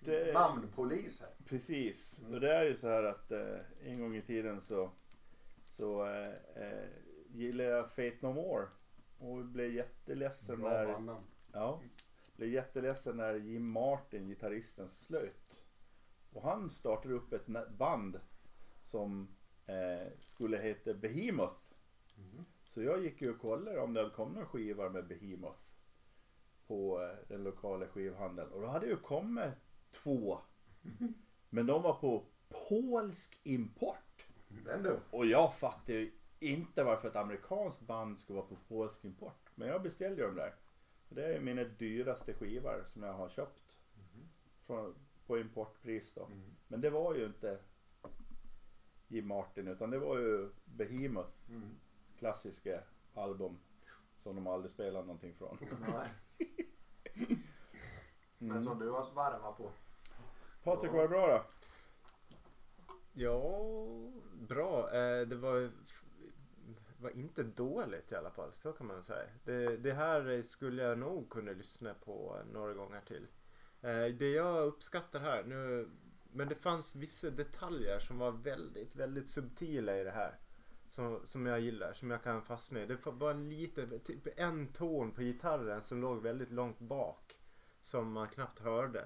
C: det...
A: namnpolis här.
C: Precis,
A: Mm.
C: och det är ju så här att eh, en gång i tiden så, så eh, eh, gillade jag Fate No More och blev jätteledsen
B: Bra
C: när,
B: bandnamn.
C: ja, blev jätteledsen när Jim Martin, gitarristen, slöt. Och han startade upp ett na- band som eh, skulle heta Behemoth. Så jag gick ju och kollade om det hade kommit några skivor med Behemoth på eh, den lokala skivhandeln och då hade ju kommit två. Men de var på polsk import
A: Den du.
C: och jag fattade ju inte varför ett amerikanskt band skulle vara på polsk import. Men jag beställde ju dem där. Och Det är mina dyraste skivor som jag har köpt
B: Mhm.
C: från, på importpris då. Men det var ju inte Jim Martin utan det var ju Behemoth
B: Mm.
C: klassiska album som de aldrig spelar någonting från.
A: Nej.
C: Mm.
A: Men som du har svarvat på.
C: Patrik, var det bra då?
D: Ja, bra. Eh, Det var, var inte dåligt i alla fall, så kan man väl säga. Det, det här skulle jag nog kunna lyssna på några gånger till. Eh, Det jag uppskattar här nu, men det fanns vissa detaljer som var väldigt, väldigt subtila i det här. Som, som jag gillar, som jag kan fastna i. Det var en liten, typ en ton på gitarren som låg väldigt långt bak. Som man knappt hörde.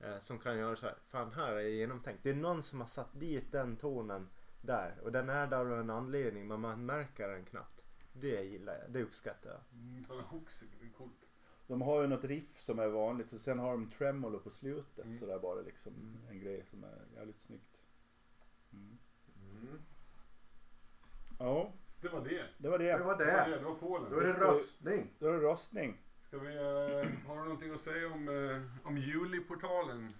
D: Eh, som kan göra så här. Fan, här är det genomtänkt. Det är någon som har satt dit den tonen där. Och den är där av en anledning, men man märker den knappt. Det gillar jag. Det uppskattar jag.
B: Mm, Sådana hooks är coolt.
C: De har ju något riff som är vanligt och sen har de tremolo på slutet
B: Mm.
C: sådär bara liksom. En grej som är jävligt snyggt. Mm.
A: Mm.
C: Ja,
B: Det var det.
C: det var
A: Det
C: det.
A: var
B: Det var,
A: det.
B: det. det var Polen.
A: Då är det röstning.
C: Då är det röstning.
B: Ska vi eh, ha någonting någonting att säga om, eh, om Juliportalen?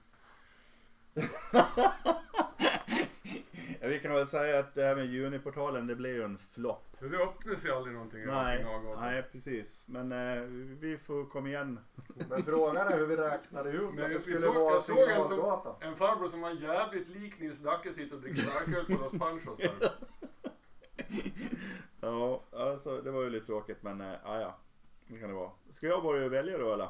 C: Ja, vi kan väl säga att det här med Juniportalen, det blev ju en flopp.
B: Det öppnas ju aldrig någonting i
C: Nej,
B: Rosengagatan.
C: nej, precis. Men eh, vi får komma igen.
A: Men frågan är hur vi räknade ut
B: Men
A: att det
B: jag,
A: skulle
B: jag, såg,
A: vara
B: jag såg en, som,
A: signalgatan.
B: en farbror som var jävligt lik Nils Dacke sitta och dricka starköl på Los Panchos där.
C: Ja, alltså det var ju lite tråkigt men eh, ja, ja. Det kan det vara. Ska jag börja välja då eller?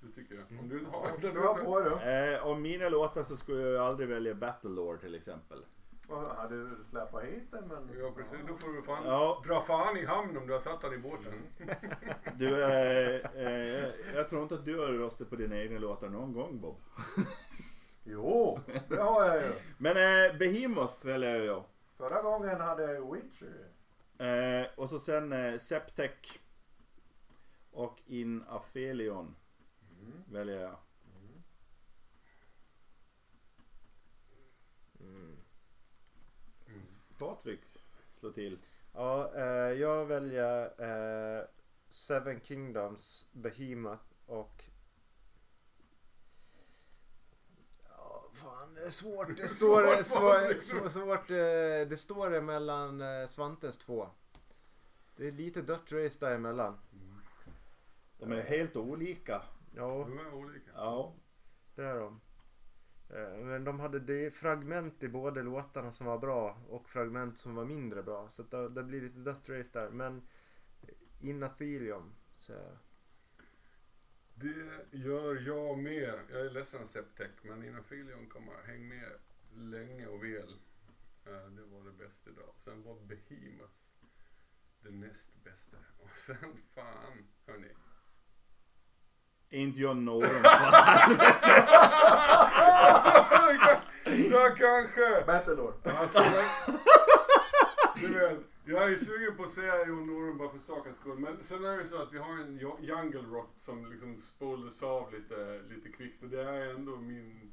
B: Det tycker jag. Om du inte har
A: Det var på du.
C: Eh, om mina låtar så skulle jag ju aldrig välja Battlelord till exempel.
A: Ja, hade du släpat hit den men...
B: Ja precis, då får du fan
C: Ja.
B: dra fan i hamn om du har satt han i båten.
C: Du, eh, eh, jag tror inte att du har röstat på dina egna låtar någon gång Bob.
A: Jo, det har jag ju.
C: Men eh, Behemoth väljer jag ju.
A: Förra gången hade jag ju Witcher.
C: Eh, och så sen eh, Septec. Och In Aphelion väljer jag. Patrik slår till.
D: Ja, eh, jag väljer eh, Seven Kingdoms, Behemoth och... Ja, fan det är svårt. Det står, det, svår, svår, svårt, eh, det står emellan eh, Svantes två. Det är lite dött race däremellan.
C: De är helt olika.
D: Ja,
B: De är olika.
C: Ja.
D: det är de. Eh, Men de hade det är fragment i båda låtarna som var bra och fragment som var mindre bra. Så att det, det blir lite dött race där. Men Inathelium säger jag.
B: Det gör jag med. Jag är ledsen Septec, men Inofilion kommer häng med länge och väl. Eh, Det var det bästa idag. Sen var Behemoth det näst bästa. Och sen fan, hörni.
C: Inte jag någon.
B: Då kanske!
A: Battlelord.
B: Alltså, men- du vet, jag är sugen på att säga Jon Norum bara för sakens skull. Men sen är det så att vi har en jo- jungle rock som liksom spolades av lite, lite kvickt. Och det är ändå min,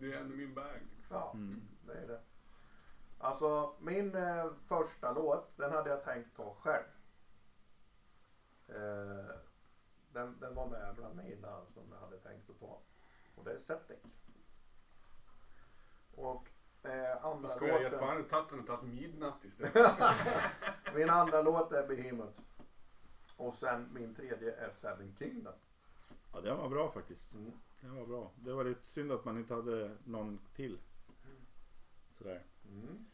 B: det är ändå min bag. Liksom.
A: Ja, det är det. Alltså min eh, första låt, den hade jag tänkt ta själv. Eh, den, den var med bland mina som jag hade tänkt att ta. Och det är Septic. Och eh,
B: Då
A: andra
B: skulle jag gett
A: låten,
B: fan och tagit den och tagit midnatt istället.
A: min andra låt är Behemoth. Och sen min tredje är Seven Kingdom.
C: Ja, den var bra faktiskt. Den var bra. Det var lite synd att man inte hade någon till. Sådär.
A: Mm.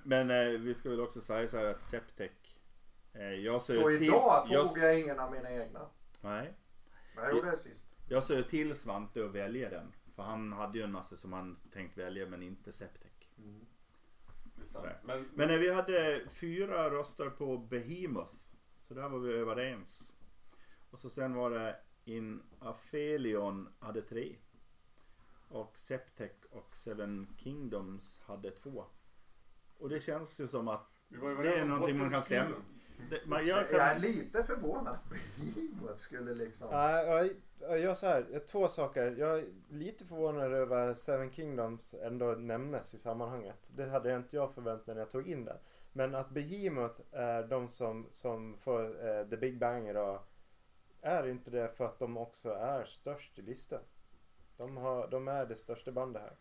C: Men eh, vi ska väl också säga så här att Septec. Eh, jag sa
A: Så
C: ju till.
A: idag tog
C: jag,
A: jag ingen av mina egna.
C: Nej.
A: Men jag gjorde det sist.
C: Jag sa ju till Svante att välja den. För han hade ju en massa som han tänkt välja men inte Septec.
B: Det är sant.
C: Sådär.
B: Men,
C: Men eh, vi hade fyra röster på Behemoth. Så där var vi överens. Och så sen var det In Aphelion hade tre. Och Septec och Seven Kingdoms hade två. Och det känns ju som att
B: vi var ju
C: det är
B: överens om
C: någonting man kan
B: bottenstriden.
C: stämma. Det, man gör
A: Jag är
C: kan,
A: lite förvånad att Behemoth skulle liksom...
D: Nej, jag- jag gör så här. Jag har två saker. Jag är lite förvånad över att Seven Kingdoms ändå nämnes i sammanhanget. Det hade inte jag förväntat mig när jag tog in det. Men att Behemoth är de som, som får eh, The Big Bang idag. Är inte det för att de också är störst i listan? De, har, de är det största bandet här.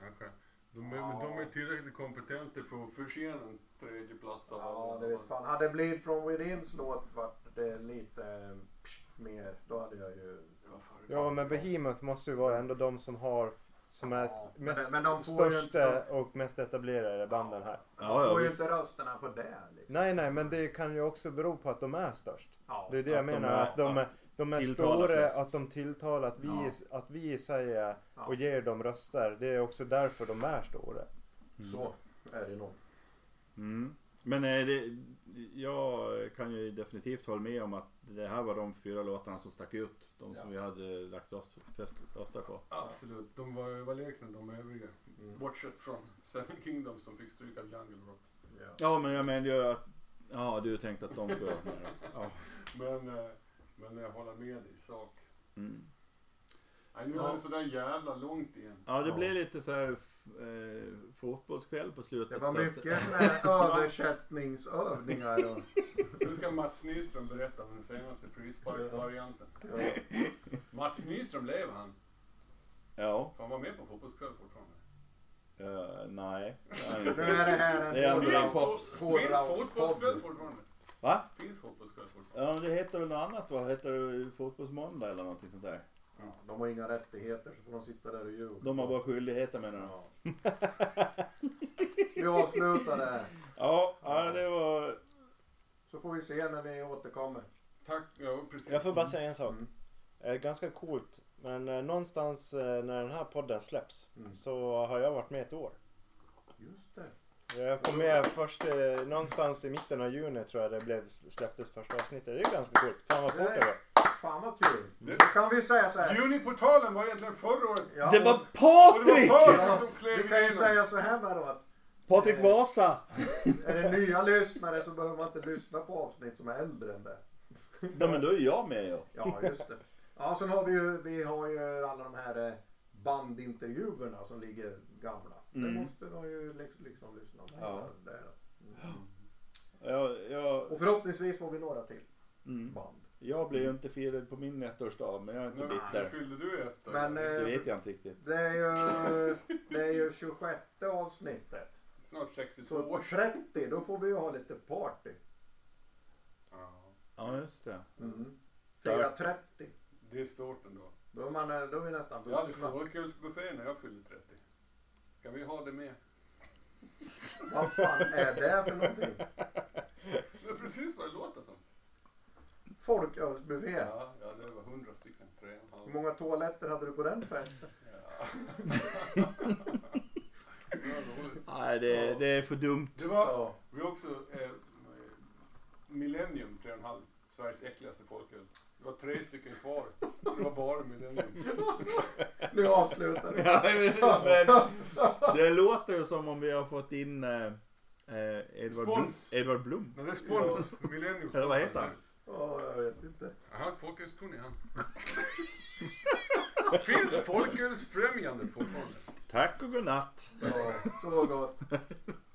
B: Kanske. De är, men de är tillräckligt kompetenta för att försena en tredje plats av
A: Ja,
B: alla.
A: det vet fan. Hade Bleed from Withins låt varit det lite eh, mer, då hade jag ju...
D: Ja, men Behemoth måste ju vara ändå de som har som är s-
A: Ja, men-
D: mest
A: men de får ju
D: största och mest etablerade banden här.
C: ja, ja,
A: får ju
C: visst.
A: inte rösterna på det. Liksom.
D: Nej, nej, men det kan ju också bero på att de är störst.
A: Ja.
D: Det är det jag
C: Att de
D: menar,
C: är-
D: att de är, de är
C: tilltalar
D: stora,
C: flest.
D: att de tilltalar, att vi, att vi säger
A: Ja.
D: och ger dem röster. Det är också därför de är stora.
A: Så är det nog.
C: Mm. Men eh, det, jag kan ju definitivt hålla med om att det här var de fyra låtarna som stack ut. De som vi hade lagt röst, fest, röstar på.
B: Absolut, de var överlägsna de övriga. Bortsett från Seven Kingdoms som fick stryk av Jungle Rock.
C: Ja men jag menar ju att Ja du tänkte att de skulle vara med. Ja.
B: Men, eh, men jag håller med i sak.
C: Mm.
B: Nej, nu är det sådär jävla långt igen.
C: Ja, det blir lite så här eh, fotbollskväll på slutet.
A: Det var
C: så att-
A: mycket såna här översättningsövningar. Och,
B: Nu ska Mats Nyström berätta om den senaste Prissparksvarianten. Mats Nyström, lever han?
C: Ja,
B: Får han vara med på Fotbollskväll fortfarande?
C: eh, nej.
A: nu är det här
C: Det är
A: en
C: andra
B: Finns,
C: Hårdrock-
A: hårdragspodd.
B: finns Fotbollskväll fortfarande?
C: Va?
B: Finns Fotbollskväll fortfarande?
C: Ja, men det heter väl något annat va? Heter det Fotbollsmåndag eller någonting sånt där?
A: Ja, De har inga rättigheter så får de sitta där och ljuga.
C: De har bara skyldigheter menar de.
A: Ja. Vi avslutar det här.
C: Ja, ja, det var...
A: Så får vi se när vi återkommer.
B: Tack, ja precis.
D: Jag får bara säga en sak. Eh, Ganska coolt. Men eh, någonstans eh, när den här podden släpps så har jag varit med ett år.
A: Just det.
D: Jag kom med först eh, någonstans i mitten av juni tror jag det blev släpptes första avsnittet. Det är ganska coolt. Fan vad fort det var.
A: Fan vad kul. Då kan vi säga så här.
B: Juniportalen var egentligen förra året.
A: Ja,
C: Det var
B: Och det var
C: Patrik!
B: Patrik som klev
A: Vi kan ju
B: igenom.
A: säga så här bara då att
C: Patrik Vasa!
A: är det nya lyssnare så behöver man inte lyssna på avsnitt som är äldre än det.
C: Ja, men då är jag med ju.
A: Ja, just det. Ja, sen har vi ju, vi har ju alla de här eh, bandintervjuerna som ligger gamla. Det
C: Mm.
A: måste man ju liksom, liksom lyssna på.
C: Ja.
A: Där.
C: Jag, jag,
A: Och förhoppningsvis får vi några till
C: mm.
A: band.
C: jag blir ju inte firad på min ettårsdag, men jag är inte
B: Nu nu
C: bitter.
B: fyllde du ett då.
A: Men
C: Det
A: eh,
C: vet jag inte riktigt.
A: det är ju, det är ju 26 avsnittet.
B: Snart 62
A: Så
B: år.
A: 30, då får vi ju ha lite party.
B: Ja,
C: Ja, just det.
A: Mm. 4.30.
B: det är stort ändå.
A: Då är, man, eh, då är vi nästan
B: Jag hade
A: vuxna.
B: folkölsbuffé när jag fyllde 30. Ska vi ha det med?
A: Vad fan är det för någonting?
B: Det är precis vad det låter som.
A: Folkölsbuffé.
B: Ja, ja det var 100 stycken. Tre och en halv.
A: Hur många toaletter hade du på den festen?
B: Det var roligt.
C: Nej, det, det är för dumt.
B: Det var, vi har också eh, Millennium 3,5. Sveriges äckligaste folköl. Det var tre stycken kvar. Det var bara Millennium.
A: Nu avslutar vi.
C: Ja, men, det låter ju som om vi har fått in eh, eh, Edvard, Blom,
B: Spons.
C: Edvard Blom.
B: Men respons. Millennium.
C: Eller vad heter han?
A: Ja, jag vet inte.
B: Jaha, folkölskunnig han. Finns folkölsfrämjandet fortfarande?
C: Tack och godnatt.
A: Ja, så gott.